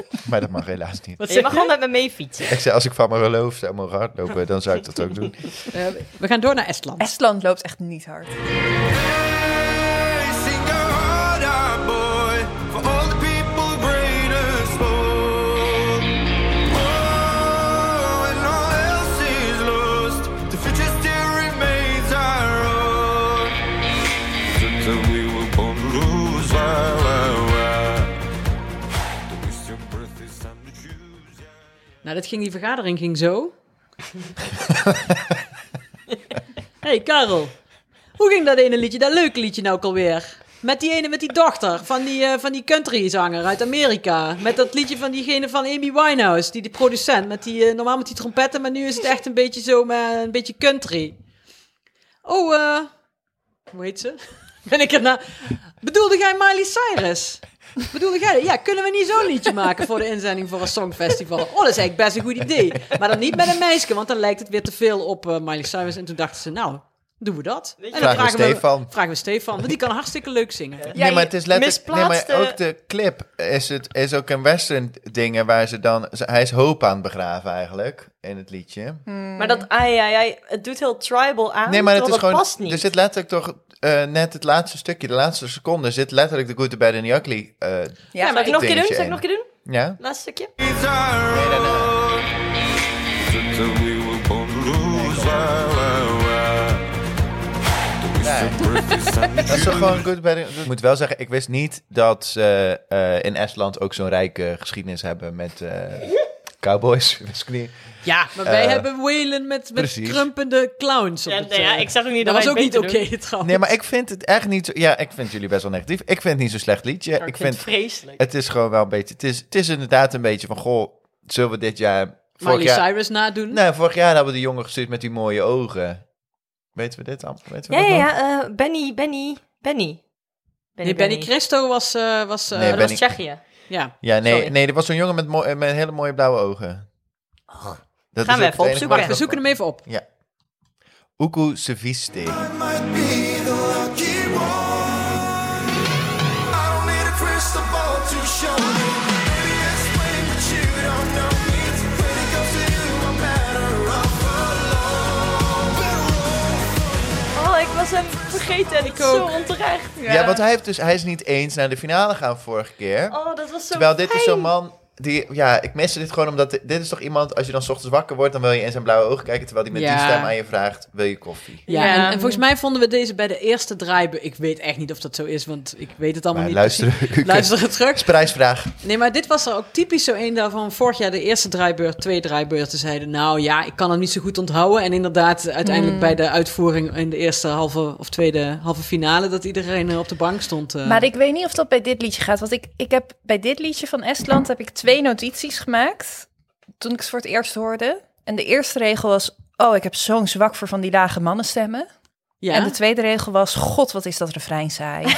B: ook, ja.
A: Maar dat mag helaas niet.
C: Wat
B: (laughs) Je
C: zeg
B: mag
C: je?
B: gewoon met me mee fietsen.
A: Ik zei, als ik van mijn geloof zou mogen hardlopen, dan zou ik dat ook doen.
C: Eh, we gaan door naar Estland.
D: Estland loopt echt niet hard.
G: Hey, sing a harder, boy, for all the people great and small. Oh, when all else is lost, the future still remains our own. So tell me we're born to lose, why, why, why? Don't waste your breath, it's time to choose, yeah.
C: Nou, dat ging, die vergadering ging zo. hey Karel, hoe ging dat ene liedje, dat leuke liedje nou ook alweer? Met die ene, met die dochter van die, eh, van die countryzanger uit Amerika. Met dat liedje van diegene van Amy Winehouse, die, die producent. Met die, eh, normaal met die trompetten, maar nu is het echt een beetje zo, maar een beetje country. Oh, eh, hoe heet ze? (laughs) Ben ik erna... Bedoelde jij Miley Cyrus? Bedoelde jij, ja, kunnen we niet zo'n liedje maken voor de inzending voor een songfestival? Oh, dat is eigenlijk best een goed idee. Maar dan niet met een meisje, want dan lijkt het weer te veel op eh, Miley Cyrus. En toen dachten ze, nou, doen we dat. En dan
A: Vragen we Stefan.
C: vragen we Stefan, want die kan hartstikke leuk zingen. Ja,
A: nee, maar het is letterlijk. Nee, maar
B: misplaatste-
A: ook de clip is, het, is ook een western dingen waar ze dan. ze- Hij is hoop aan het begraven eigenlijk in het liedje.
B: Maar dat ai, ai, ai, het doet heel tribal aan,
A: Mm. nee, maar het is
B: terwijl
A: gewoon.
B: dat past niet.
A: Er zit letterlijk toch eh, net het laatste stukje, de laatste seconde, zit letterlijk de Good, the Bad and the Ugly. eh,
D: Ja,
B: Zal ik nog een keer doen?
A: dingetje
B: Zal ik
A: in.
B: nog een keer doen?
A: ja.
B: Laatste stukje?
G: It's our own. So tell me we're born to lose, why, why, why? Don't waste your breath, it's time to
A: Dat is toch gewoon Good, the Bad and- Ik moet wel zeggen, ik wist niet dat ze eh, in Estland ook zo'n rijke geschiedenis hebben met eh, cowboys. (laughs) Wist ik niet.
C: maar wij
A: Eh,
C: hebben Whalen met, met
A: precies.
C: krumpende clowns op
B: Ja,
C: het,
B: nee, ja,
C: eh,
B: ik zag ook niet
C: Dat
B: dat
C: was
B: wij
C: ook
B: het
C: niet oké,
B: beter
C: trouwens.
A: Nee, maar ik vind het echt niet. zo- Ja, ik vind jullie best wel negatief. Ik vind het niet zo'n slecht liedje.
B: doen.
A: ik vind
B: vreselijk.
A: Het is gewoon wel een beetje. Het is, het is inderdaad een beetje van. Goh, zullen we dit jaar. Vorig
C: Miley
A: jaar,
C: Cyrus nadoen.
A: nee, vorig jaar hebben we die jongen gestuurd met die mooie ogen. Weten we dit al? Weten we
B: Ja,
A: dat
B: ja,
A: nog?
B: ja, eh, Benny, Benny, Benny.
C: Nee, Benny Christo was... eh was eh,
A: Nee,
B: Dat
A: Benny-
B: was Tsjechië.
C: Ja.
A: Ja, nee,
C: Sorry.
A: nee, er was zo'n jongen met, mooi- met hele mooie blauwe ogen. Dat
B: Oh. Gaan
A: is
B: we
A: ook
B: even
A: het enige
B: opzoeken.
A: wat ik
C: Wacht, we
A: nog-
C: zoeken hem even op.
A: Ja. Uku Seviste.
F: might be the lucky one. I don't need a crystal ball to show me. Maybe explain, but you don't know me. So when it comes to you, I'm better off alone. Better
B: Oh, ik was hem vergeten en ik zo onterecht.
A: Ja. want hij, heeft dus, hij is niet eens naar de finale gaan vorige keer.
B: Oh, dat was zo
A: terwijl dit is
B: fijn.
A: zo'n man... Die, ja, ik miste dit gewoon omdat... Dit is toch iemand, als je dan 's ochtends wakker wordt... dan wil je in zijn blauwe ogen kijken... terwijl hij met die
C: Ja.
A: stem aan je vraagt... wil je koffie?
C: Ja,
B: Ja.
C: En, en volgens mij vonden we deze bij de eerste draaibe. Ik weet echt niet of dat zo is, want ik weet het allemaal
A: Maar
C: niet.
A: luisteren... (laughs)
C: precies. Luister het terug.
A: Is prijsvraag.
C: Nee, maar dit was er ook typisch zo een daarvan. Vorig jaar de eerste draaibeurt, twee draaibeurten zeiden... nou ja, ik kan hem niet zo goed onthouden. En inderdaad, uiteindelijk
D: Mm.
C: bij de uitvoering in de eerste halve of tweede halve finale... dat iedereen eh, op de bank stond. eh.
D: Maar ik weet niet of dat bij dit liedje gaat. Want ik, ik heb bij dit liedje van Estland heb ik twee notities gemaakt. Toen ik het voor het eerst hoorde. En de eerste regel was: Oh, ik heb zo'n zwak voor van die lage mannenstemmen.
C: ja?
D: En de tweede regel was: God, wat is dat refrein saai.
C: (laughs)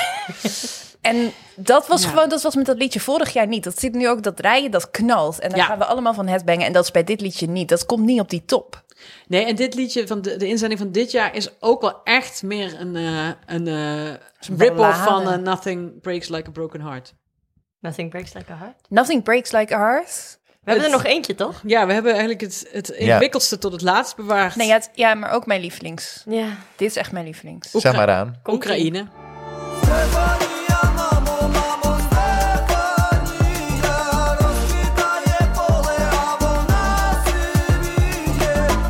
D: en dat was
C: Ja.
D: gewoon, dat was met dat liedje vorig jaar niet. Dat zit nu ook, dat draaien, dat knalt. En daar
C: Ja.
D: gaan we allemaal van het bengen. En dat is bij dit liedje niet. Dat komt niet op die top.
C: Nee, en dit liedje van de, de inzending van dit jaar is ook wel echt meer een, eh een eh rip-off van
D: ballade.
C: eh, Nothing Breaks Like a Broken Heart.
B: Nothing breaks like a heart.
D: Nothing breaks like a heart.
B: We hebben er
C: Het-
B: nog eentje, toch?
C: Ja, we hebben eigenlijk het, het ingewikkeldste tot het laatst bewaard.
D: Nee, ja, het- ja, maar ook mijn lievelings.
B: Ja.
D: Dit is echt mijn lievelings.
A: Zeg maar aan.
B: Komt
C: Oekraïne.
F: Stefania, mamo, mamo, Stefania, rozkwitaje pole, a wona sypie.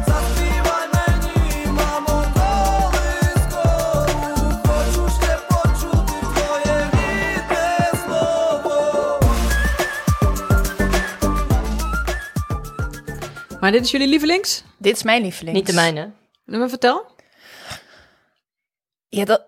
F: Zaśpiewaj meni, mamo, kołysko. Poczuć te poczuty, twoje miłe słowo.
C: Maar dit is jullie lievelings?
D: Dit is mijn lievelings.
B: Niet de mijne.
C: Nou, maar vertel.
D: Ja, dat,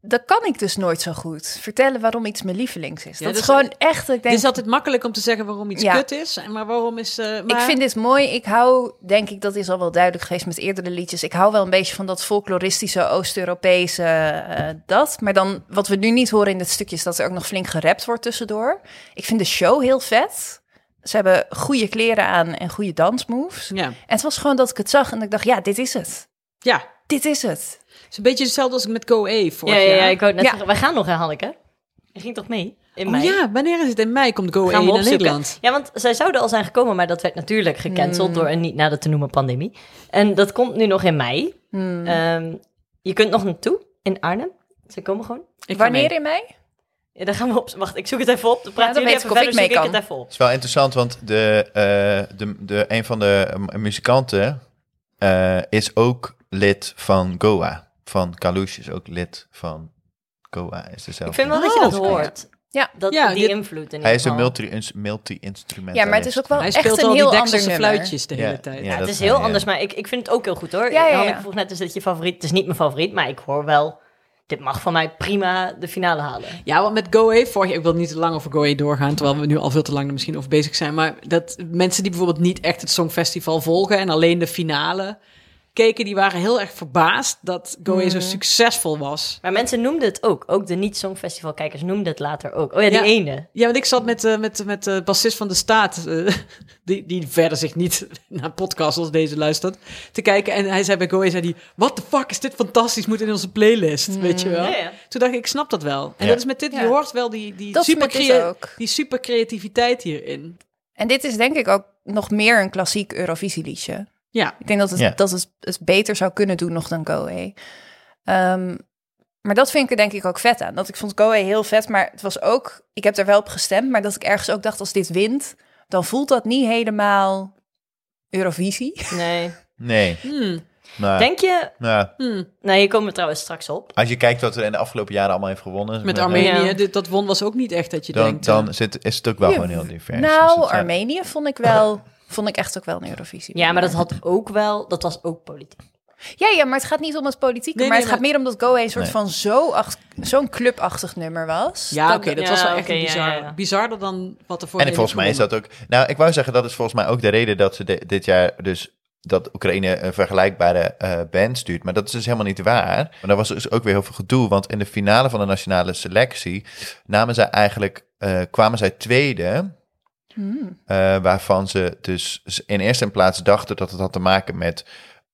D: dat kan ik dus nooit zo goed. Vertellen waarom iets mijn lievelings is.
C: Ja,
D: dat is
C: dus-
D: gewoon echt, dat ik
C: Het
D: denk,
C: is altijd makkelijk om te zeggen waarom iets
D: Ja.
C: kut is. en Maar waarom is... eh, maar...
D: ik vind dit mooi. Ik hou, denk ik, dat is al wel duidelijk geweest met eerdere liedjes. Ik hou wel een beetje van dat folkloristische Oost-Europese eh, dat. Maar dan, wat we nu niet horen in dit stukje, is dat er ook nog flink gerapt wordt tussendoor. Ik vind de show heel vet. Ze hebben goede kleren aan en goede dansmoves.
C: Ja.
D: En het was gewoon dat ik het zag en ik dacht, ja, dit is het.
C: ja,
D: Dit is het.
C: het is een beetje hetzelfde als ik met GoA vorig
B: Ja, ja, ja,
C: jaar.
B: ik wou het net
D: Ja.
B: zeggen. Wij gaan nog, hè, Hanneke? Je ging toch mee? In
C: Oh
B: mei?
C: ja, wanneer is het? In mei komt GoA
B: Gaan we
C: naar
B: opzoeken.
C: Nederland.
B: Ja, want zij zouden al zijn gekomen, maar dat werd natuurlijk gecanceld door een niet nader te noemen pandemie. En dat komt nu nog in mei.
D: Hmm.
B: Ehm, je kunt nog naartoe in Arnhem. Ze komen gewoon.
C: Ik ga
D: Wanneer
C: mee.
D: in mei?
B: Ja, daar gaan we op. Wacht, ik zoek het even op. Dan praten
D: dan
B: jullie
D: weet
B: even
D: ik of
B: verder,
D: ik mee
B: zoek
D: kan.
B: ik het even op.
A: Het is wel interessant, want de, eh, de, de, een van de eh, muzikanten eh, is ook lid van Goa. Van Kalush is ook lid van Goa. Is dezelfde.
B: Ik vind wel dat je
C: Oh,
B: dat
C: oké.
B: hoort.
D: Ja.
B: Dat,
C: Ja,
B: die
C: dit-
B: invloed in
A: Hij
B: ieder
A: is een
B: geval.
A: multi- multi-instrumentalist.
D: Oh. Ja, maar het is ook wel
C: Hij
D: echt
C: speelt
D: een
C: al die
D: heel ander
C: Dekselse
D: nummer.
C: fluitjes de hele
A: Ja,
C: tijd.
A: ja.
B: Ja, het
A: dat
B: is heel
A: zijn, ja.
B: anders, maar ik, ik vind het ook heel goed hoor.
D: Ja, ja, ja.
B: Hanneke vroeg net, is dit je favoriet? Het is niet mijn favoriet, maar ik hoor wel... Dit mag van mij prima de finale halen.
C: Ja, want met GoA, vorig jaar, ik wil niet te lang over GoA doorgaan, terwijl we nu al veel te lang er misschien over bezig zijn. Maar dat mensen die bijvoorbeeld niet echt het Songfestival volgen en alleen de finale keken, die waren heel erg verbaasd dat GoA zo succesvol was.
B: Maar mensen noemden het ook. Ook de niet-songfestivalkijkers noemden het later ook. Oh ja, die
C: Ja.
B: ene.
C: Ja, want ik zat met, eh, met, met de bassist van de staat, eh, (laughs) die, die verder zich niet (laughs) naar podcasts als deze luistert, te kijken. En hij zei bij GoA, zei die, what the fuck is dit fantastisch, moet in onze playlist, weet je wel.
B: Ja, ja.
C: Toen dacht ik, ik snap dat wel. En
A: Ja.
C: dat is met dit, je
D: Hmm. Ja.
C: hoort wel die, die,
D: Dat is
C: super
D: met dit ook.
C: die super creativiteit hierin.
D: En dit is denk ik ook nog meer een klassiek Eurovisieliedje.
C: Ja,
D: Ik denk dat het,
A: Ja.
D: dat het het beter zou kunnen doen nog dan Goe. Ehm, maar dat vind ik er denk ik ook vet aan. Dat ik vond Goe heel vet, maar het was ook... Ik heb er wel op gestemd, maar dat ik ergens ook dacht... als dit wint, dan voelt dat niet helemaal Eurovisie.
B: Nee.
A: Nee.
D: Hmm.
A: Nou,
B: Denk je...
A: nou,
B: Nou, hier komen we trouwens straks op.
A: als je kijkt wat er in de afgelopen jaren allemaal heeft gewonnen.
C: met
A: eh,
C: Armenië,
B: Ja.
C: dit, dat won was ook niet echt dat je
A: Dan,
C: denkt. eh,
A: dan zit, is het
C: (laughs)
A: ook wel
D: Ja.
A: gewoon heel divers. Dus
D: nou,
A: het, ja.
D: Armenië vond ik wel... Vond ik echt ook wel een Eurovisie.
B: Ja, maar dat had ook wel... Dat was ook politiek.
D: Ja, ja, maar het gaat niet om het politieke.
C: Nee,
D: maar
C: nee,
D: het gaat
C: maar-
D: meer om dat Goe een soort
A: Nee.
D: van zo acht- zo'n clubachtig nummer was.
C: ja, oké, dat
B: ja,
C: was wel echt
B: oké,
C: een
B: ja,
C: bizar,
B: ja, ja.
C: bizarder dan wat er voor
A: En volgens mij is dat ook. Nou, ik wou zeggen, dat is volgens mij ook de reden dat ze de- dit jaar dus dat Oekraïne een vergelijkbare eh, band stuurt. Maar dat is dus helemaal niet waar. Maar daar was dus ook weer heel veel gedoe. Want in de finale van de nationale selectie namen zij eigenlijk eh, eh, kwamen zij tweede. Eh, waarvan ze dus in eerste plaats dachten dat het had te maken met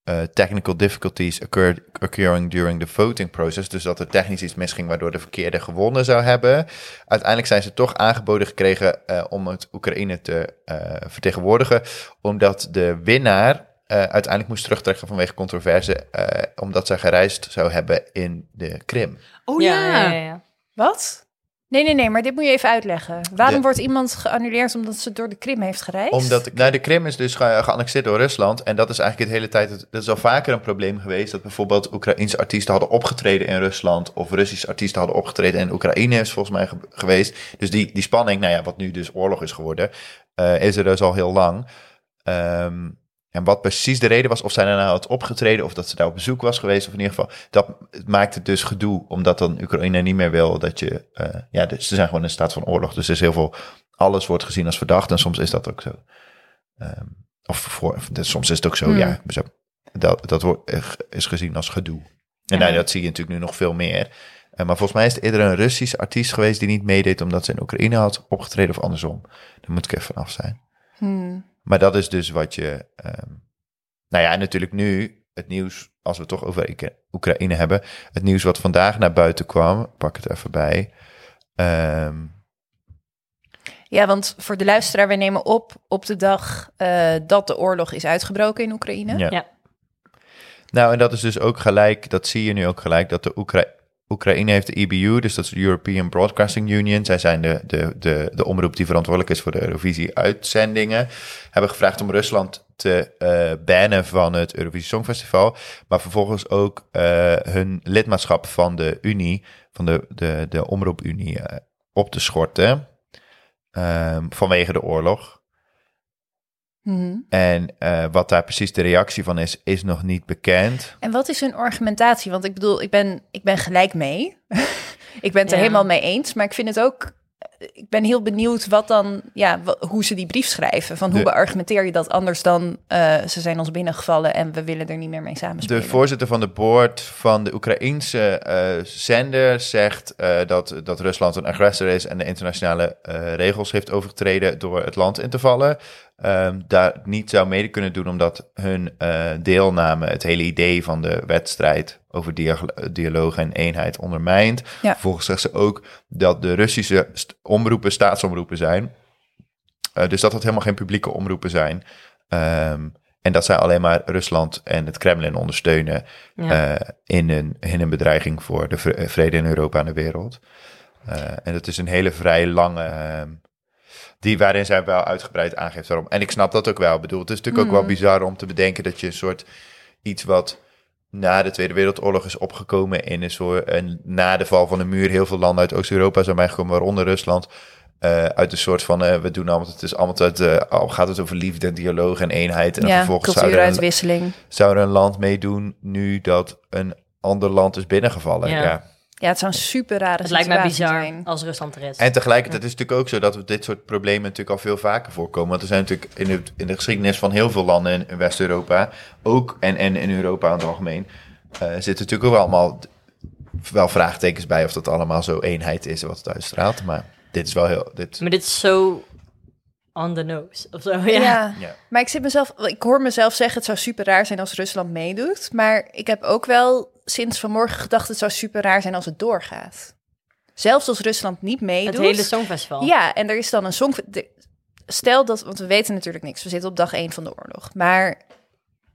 A: eh, technical difficulties occurred, occurring during the voting process. Dus dat er technisch iets misging waardoor de verkeerde gewonnen zou hebben. Uiteindelijk zijn ze toch aangeboden gekregen eh, om het Oekraïne te eh, vertegenwoordigen. Omdat de winnaar eh, uiteindelijk moest terugtrekken vanwege controverse. eh, omdat zij gereisd zou hebben in de Krim.
G: Oh ja.
D: Wat? Nee, nee, nee, maar dit moet je even uitleggen. Waarom
A: De-
D: wordt iemand geannuleerd omdat ze door de Krim heeft gereisd?
A: Omdat de, nou, de Krim is dus ge- geannexeerd door Rusland. En dat is eigenlijk de hele tijd. het- Dat is al vaker een probleem geweest. Dat bijvoorbeeld Oekraïense artiesten hadden opgetreden in Rusland. Of Russische artiesten hadden opgetreden in Oekraïne, is volgens mij ge- geweest. Dus die, die spanning, nou ja, wat nu dus oorlog is geworden. eh, is er dus al heel lang. Ehm, en wat precies de reden was, of zij daarna had opgetreden, of dat ze daar op bezoek was geweest, of in ieder geval, dat het maakt het dus gedoe, omdat dan Oekraïne niet meer wil dat je, eh, ja, dus ze zijn gewoon in staat van oorlog, dus er is heel veel, alles wordt gezien als verdacht en soms is dat ook zo. Ehm, of voor, of dat- soms is het ook zo, ja, zo, dat, dat wordt, eh, is gezien als gedoe. En nou, dat zie je natuurlijk nu nog veel meer. Eh, maar volgens mij is het eerder een Russische artiest geweest die niet meedeed omdat ze in Oekraïne had opgetreden of andersom. Daar moet ik even vanaf zijn.
D: Hmm.
A: Maar dat is dus wat je. ehm, nou ja, en natuurlijk nu het nieuws, als we het toch over Oek- Oekraïne hebben. Het nieuws wat vandaag naar buiten kwam, pak het even bij. Ehm,
D: Ja, want voor de luisteraar, wij nemen op op de dag eh, dat de oorlog is uitgebroken in Oekraïne.
A: ja.
B: Ja.
A: Nou, en dat is dus ook gelijk, dat zie je nu ook gelijk, dat de Oekra Oekraïne heeft de EBU, dus dat is de European Broadcasting Union. Zij zijn de, de, de, de omroep die verantwoordelijk is voor de Eurovisie-uitzendingen. Hebben gevraagd om Rusland te eh, bannen van het Eurovisie Songfestival. Maar vervolgens ook eh, hun lidmaatschap van de Unie, van de, de, de omroepunie, eh, op te schorten. Ehm, vanwege de oorlog. En eh, wat daar precies de reactie van is, is nog niet bekend.
D: En wat is hun argumentatie? Want ik bedoel, ik ben, ik ben gelijk mee. (laughs) ik ben het er
B: Ja.
D: helemaal mee eens. Maar ik vind het ook. Ik ben heel benieuwd wat dan, ja, wa- hoe ze die brief schrijven. Van hoe
A: De-
D: beargumenteer je dat anders dan eh, ze zijn ons binnengevallen en we willen er niet meer mee samenspelen.
A: De voorzitter van de board van de Oekraïense eh, zender zegt eh, dat, dat Rusland een agressor is en de internationale eh, regels heeft overtreden door het land in te vallen. Ehm, daar niet zou mede kunnen doen omdat hun eh, deelname het hele idee van de wedstrijd over diag- dialoog en eenheid ondermijnt.
D: Ja.
A: Vervolgens zegt ze ook dat de Russische st- omroepen staatsomroepen zijn. Eh, dus dat het helemaal geen publieke omroepen zijn. Ehm, en dat zij alleen maar Rusland en het Kremlin ondersteunen
B: Ja.
A: eh, in, een, in een bedreiging voor de vre- vrede in Europa en de wereld. Eh, en dat is een hele vrij lange, ehm, die waarin zij wel uitgebreid aangeeft waarom. En ik snap dat ook wel. Ik bedoel, het is natuurlijk ook wel bizar om te bedenken dat je een soort iets wat na de Tweede Wereldoorlog is opgekomen in een soort, en na de val van de muur heel veel landen uit Oost-Europa zijn bijgekomen, waaronder Rusland. eh, uit een soort van, eh, we doen allemaal, het is allemaal uit, eh, al gaat het over liefde en dialoog en eenheid. En dan
D: ja,
A: vervolgens zou er, een,
D: cultuuruitwisseling.
A: zou er een land meedoen nu dat een ander land is binnengevallen. Ja.
B: Ja.
D: Ja, het zou een super rare
B: Het lijkt
D: situatie
B: mij bizar Oh,
D: zijn.
B: als Rusland er is.
A: En tegelijkertijd is het natuurlijk ook zo dat we dit soort problemen natuurlijk al veel vaker voorkomen. Want er zijn natuurlijk in de, in de geschiedenis van heel veel landen in, in West-Europa, ook en, en in Europa in het algemeen, eh, zitten natuurlijk ook allemaal d- wel vraagtekens bij of dat allemaal zo eenheid is wat het uitstraalt. Maar dit is wel heel. Dit,
B: Maar dit is zo on the nose of zo. Ja.
D: Ja.
A: Ja.
D: maar ik zit mezelf, ik hoor mezelf zeggen: het zou super raar zijn als Rusland meedoet. Maar ik heb ook wel sinds vanmorgen gedacht: het zou super raar zijn als het doorgaat. Zelfs als Rusland niet meedoet.
B: Het hele songfestival.
D: Ja, en er is dan een song. de- Stel dat, want we weten natuurlijk niks. We zitten op dag 1 van de oorlog. Maar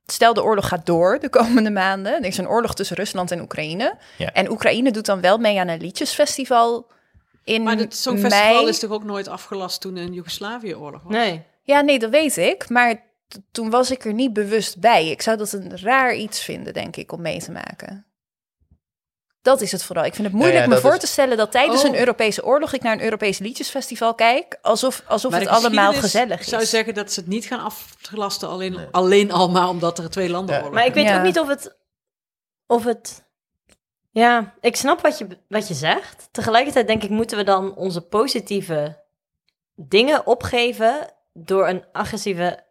D: stel de oorlog gaat door de komende maanden. Er is een oorlog tussen Rusland en Oekraïne.
A: Ja.
D: En Oekraïne doet dan wel mee aan een liedjesfestival in
G: Maar het Songfestival
D: mei.
G: is toch ook nooit afgelast toen een Joegoslavië-oorlog was?
B: Nee.
D: Ja, nee, dat weet ik. Maar t- toen was ik er niet bewust bij. Ik zou dat een raar iets vinden, denk ik, om mee te maken. Dat is het vooral. Ik vind het moeilijk
A: ja,
D: me
A: dat
D: voor
A: is-
D: te stellen dat tijdens
G: Oh.
D: een Europese oorlog ik naar een Europees liedjesfestival kijk. Alsof, alsof
G: Maar
D: het
G: de
D: allemaal
G: geschiedenis
D: gezellig is.
G: zou zeggen dat ze het niet gaan aflasten, alleen, alleen al maar omdat er twee landen
A: Ja.
G: oorlog
B: Maar ik weet
D: Ja.
B: ook niet of het, of het... Ja, ik snap wat je, wat je zegt. Tegelijkertijd denk ik, moeten we dan onze positieve dingen opgeven door een agressieve...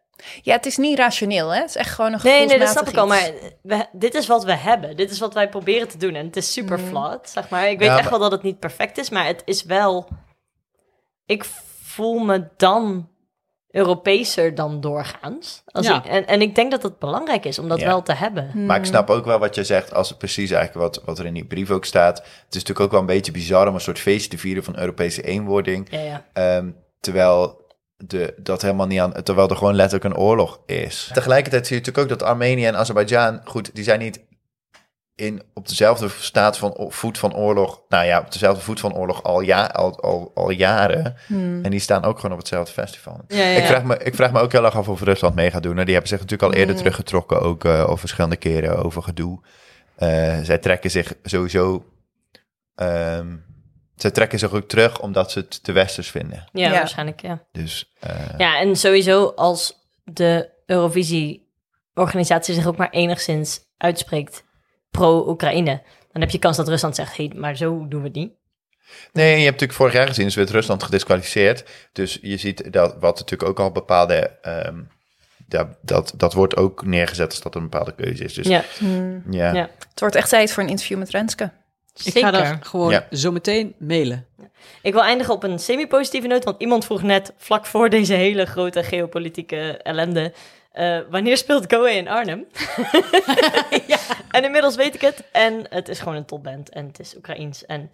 D: Ja, het is niet rationeel, hè? Het is echt gewoon een
B: Nee, nee, dat
D: gevoelsmatig
B: snap ik al,
D: iets.
B: maar we- dit is wat we hebben. Dit is wat wij proberen te Mm. doen en het is super flat, zeg maar. Ik weet
A: Ja,
B: echt
A: maar-
B: wel dat het niet perfect is, maar het is wel... ik voel me dan Europeeser dan doorgaans. Als
C: Ja.
B: ik- en, en ik denk dat dat belangrijk is om dat
A: Ja.
B: wel te hebben.
A: Maar ik snap ook wel wat je zegt, als het precies eigenlijk wat, wat er in die brief ook staat. Het is natuurlijk ook wel een beetje bizar om een soort feestje te vieren van Europese eenwording.
B: Ja, ja.
A: Ehm, terwijl de, dat helemaal niet aan, terwijl er gewoon letterlijk een oorlog is. Tegelijkertijd zie je natuurlijk ook dat Armenië en Azerbeidzjan, goed, die zijn niet in, op dezelfde staat van o- voet van oorlog, nou ja, op dezelfde voet van oorlog al, ja, al, al, al jaren. En die staan ook gewoon op hetzelfde festival.
B: Hmm. ja, ja.
A: Ik, vraag me, ik vraag me ook heel erg af of Rusland mee gaat doen. Nou, die hebben zich natuurlijk al
B: Hmm.
A: eerder teruggetrokken, ook eh al verschillende keren over gedoe. Eh, zij trekken zich sowieso. ehm, zij trekken zich ook terug omdat ze het te westers vinden.
B: Ja,
D: Ja.
B: waarschijnlijk, ja.
A: Dus eh,
B: Ja, en sowieso als de Eurovisie-organisatie zich ook maar enigszins uitspreekt pro-Oekraïne, dan heb je kans dat Rusland zegt, hé, maar zo doen we het niet.
A: Nee, je hebt natuurlijk vorig jaar gezien, is werd Rusland gedisqualificeerd. Dus je ziet dat wat natuurlijk ook al bepaalde. ehm, dat, dat, dat wordt ook neergezet als dat een bepaalde keuze is. Dus ja,
B: Ja,
A: ja.
B: ja.
D: Het wordt echt tijd voor een interview met Renske.
C: Ik ga
B: Zeker.
C: daar gewoon
A: Ja.
C: zo meteen mailen.
B: Ik wil eindigen op een semi-positieve noot, want iemand vroeg net, vlak voor deze hele grote geopolitieke ellende, eh, wanneer speelt Goa in
C: (laughs)
B: Arnhem? En inmiddels weet ik het. En het is gewoon een topband en het is Oekraïens. En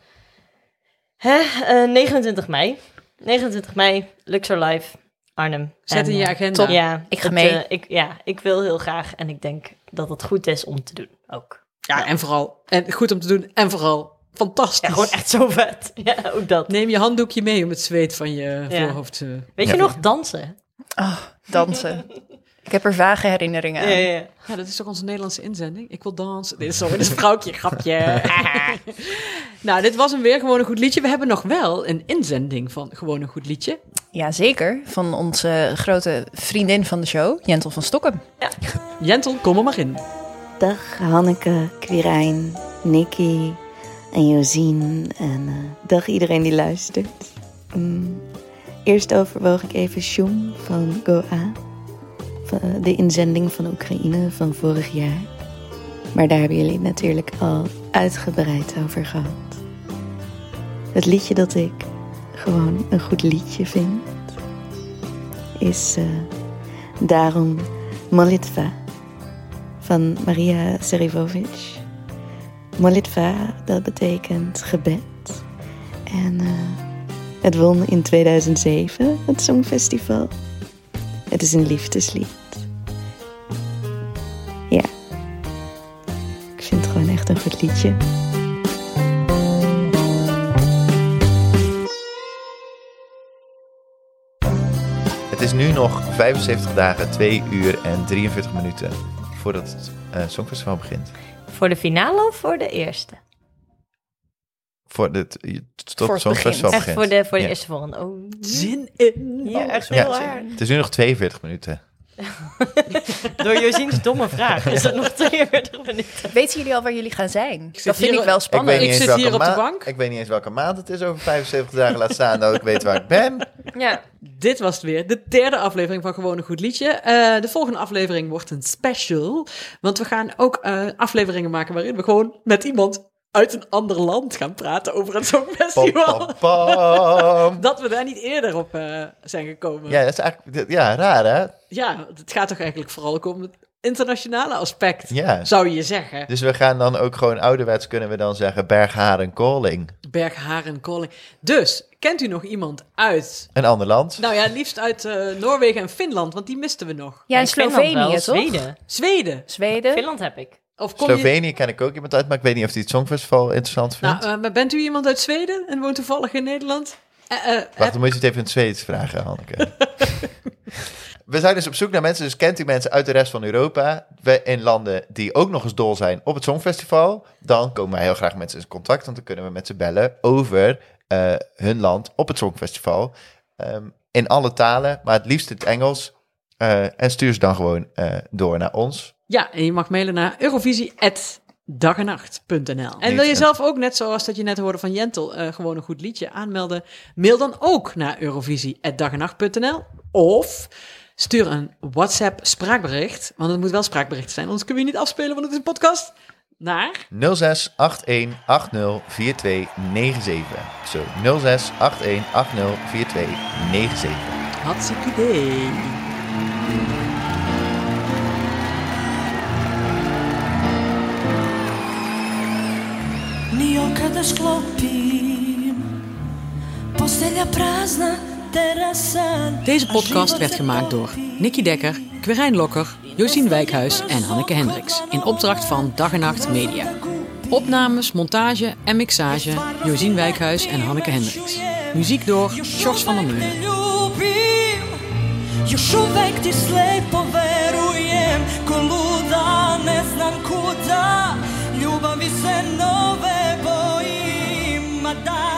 B: hè, eh, 29 mei. 29 mei, Luxor Live, Arnhem.
C: Zet
B: En,
C: in je
B: eh,
C: agenda.
D: top.
C: Ja.
B: Ja,
D: Ik ga
B: het,
D: mee.
B: eh, ik, ja, ik wil heel graag en ik denk dat het goed is om te doen ook.
C: en vooral. En goed om te doen. En vooral. Fantastisch.
B: Ja, gewoon echt zo vet. (laughs) Ja, ook dat.
C: Neem je handdoekje mee om het zweet van je
B: Ja.
C: voorhoofd eh. te...
B: Weet
A: Ja.
B: je nog dansen?
D: Dansen. ik heb er vage herinneringen aan.
B: ja.
C: Ja, dat is toch onze Nederlandse inzending? Ik wil dansen. Dit is zo een sprookje, grapje. (laughs) nou, dit was hem weer. Gewoon een goed liedje. We hebben nog wel een inzending van Gewoon een goed liedje.
D: Ja, zeker. Van onze grote vriendin van de show, Jentel van Stokken.
C: Jentel, kom er maar in.
H: Dag Hanneke, Quirijn, Nikki en Josien en eh, dag iedereen die luistert. Mm. Eerst overwoog ik even Shum van Goa, van, eh, de inzending van Oekraïne van vorig jaar. Maar daar hebben jullie het natuurlijk al uitgebreid over gehad. Het liedje dat ik gewoon een goed liedje vind is eh, daarom Molitva van Maria Serivovic. Molitva, dat betekent gebed. En eh, het won in 2007 het Songfestival. Het is een liefdeslied. Ja, ik vind het gewoon echt een goed liedje.
A: Het is nu nog 75 dagen, 2 uur en 43 minuten voordat het eh, Songfestival begint.
B: Voor de finale of voor de eerste?
A: Voor het, tot
D: Voor het
A: het Songfestival
B: Echt
A: begint.
B: voor de, voor de
A: Ja.
B: eerste volgende. Oh,
C: Zin in.
B: ja, echt
A: Ja.
B: heel hard.
A: Het is nu nog 42 minuten.
B: Door Josien's domme vraag is het nog 42 minuten.
D: Weten jullie al waar jullie gaan zijn?
C: zit
D: Dat vind
C: hier-
D: ik wel spannend.
C: Ik zit hier op de
A: ma-
C: bank.
A: Ik weet niet eens welke maand het is over 75 dagen. Laat staan dat ik weet waar ik ben.
B: Ja.
C: Dit was het weer, de derde aflevering van Gewoon een Goed Liedje. Eh, de volgende aflevering wordt een special, want we gaan ook eh, afleveringen maken waarin we gewoon met iemand uit een ander land gaan praten over het (laughs)
A: Pam,
C: Songfestival.
A: pam, pam.
C: Dat we daar niet eerder op eh, zijn gekomen.
A: Ja, dat is eigenlijk dat- ja, raar, hè?
C: Ja, het gaat toch eigenlijk vooral ook om het internationale aspect,
A: Ja.
C: zou je zeggen.
A: Dus we gaan dan ook gewoon ouderwets kunnen we dan zeggen Bergharen Calling.
C: Bergharen, Koling. Dus, kent u nog iemand uit,
A: Een ander land.
C: nou ja, het liefst uit eh, Noorwegen en Finland, want die misten we nog.
D: Ja, in Slovenië, toch?
B: Zweden.
C: Zweden.
D: Zweden.
B: Finland heb ik.
C: Of kom je...
A: Slovenië ken ik ook iemand uit, maar ik weet niet of die het Songfestival interessant vindt.
C: Nou, eh, maar bent u iemand uit Zweden en woont toevallig in Nederland? Eh, eh,
A: Wacht,
C: eh,
A: dan moet je het even in het Zweeds vragen, Hanneke. (laughs) we zijn dus op zoek naar mensen, dus kent u mensen uit de rest van Europa, we- in landen die ook nog eens dol zijn op het Songfestival, dan komen wij heel graag met ze in contact, want dan kunnen we met ze bellen over eh, hun land op het Songfestival. Ehm, in alle talen, maar het liefst in het Engels. Eh, en stuur ze dan gewoon eh, door naar ons.
C: ja, en je mag mailen naar eurovisie.dagenacht.nl. En wil je
A: Niet,
C: zelf ook, net zoals dat je net hoorde van Jentel, eh, gewoon een goed liedje aanmelden? Mail dan ook naar eurovisie.dagenacht.nl of stuur een WhatsApp spraakbericht, want het moet wel spraakbericht zijn, anders kunnen we je niet afspelen, want het is een podcast.
G: Naar?
A: 0681804297. Zo, 0681804297.
G: Hartstikke idee.
E: Ni okada sklopim Postelja prazna terasa
C: Deze podcast werd gemaakt door Nicky Dekker, Quirijn Lokker, Josien Wijkhuis en Hanneke Hendricks. In opdracht van Dag en Nacht Media. Opnames, montage en mixage Josien Wijkhuis en Hanneke Hendricks. Muziek door Sjors van der Meulen.
E: ljubim Još uvek ti slepo verujem Ko luda ne znam kuda Ljubavi se nove bojim Ma da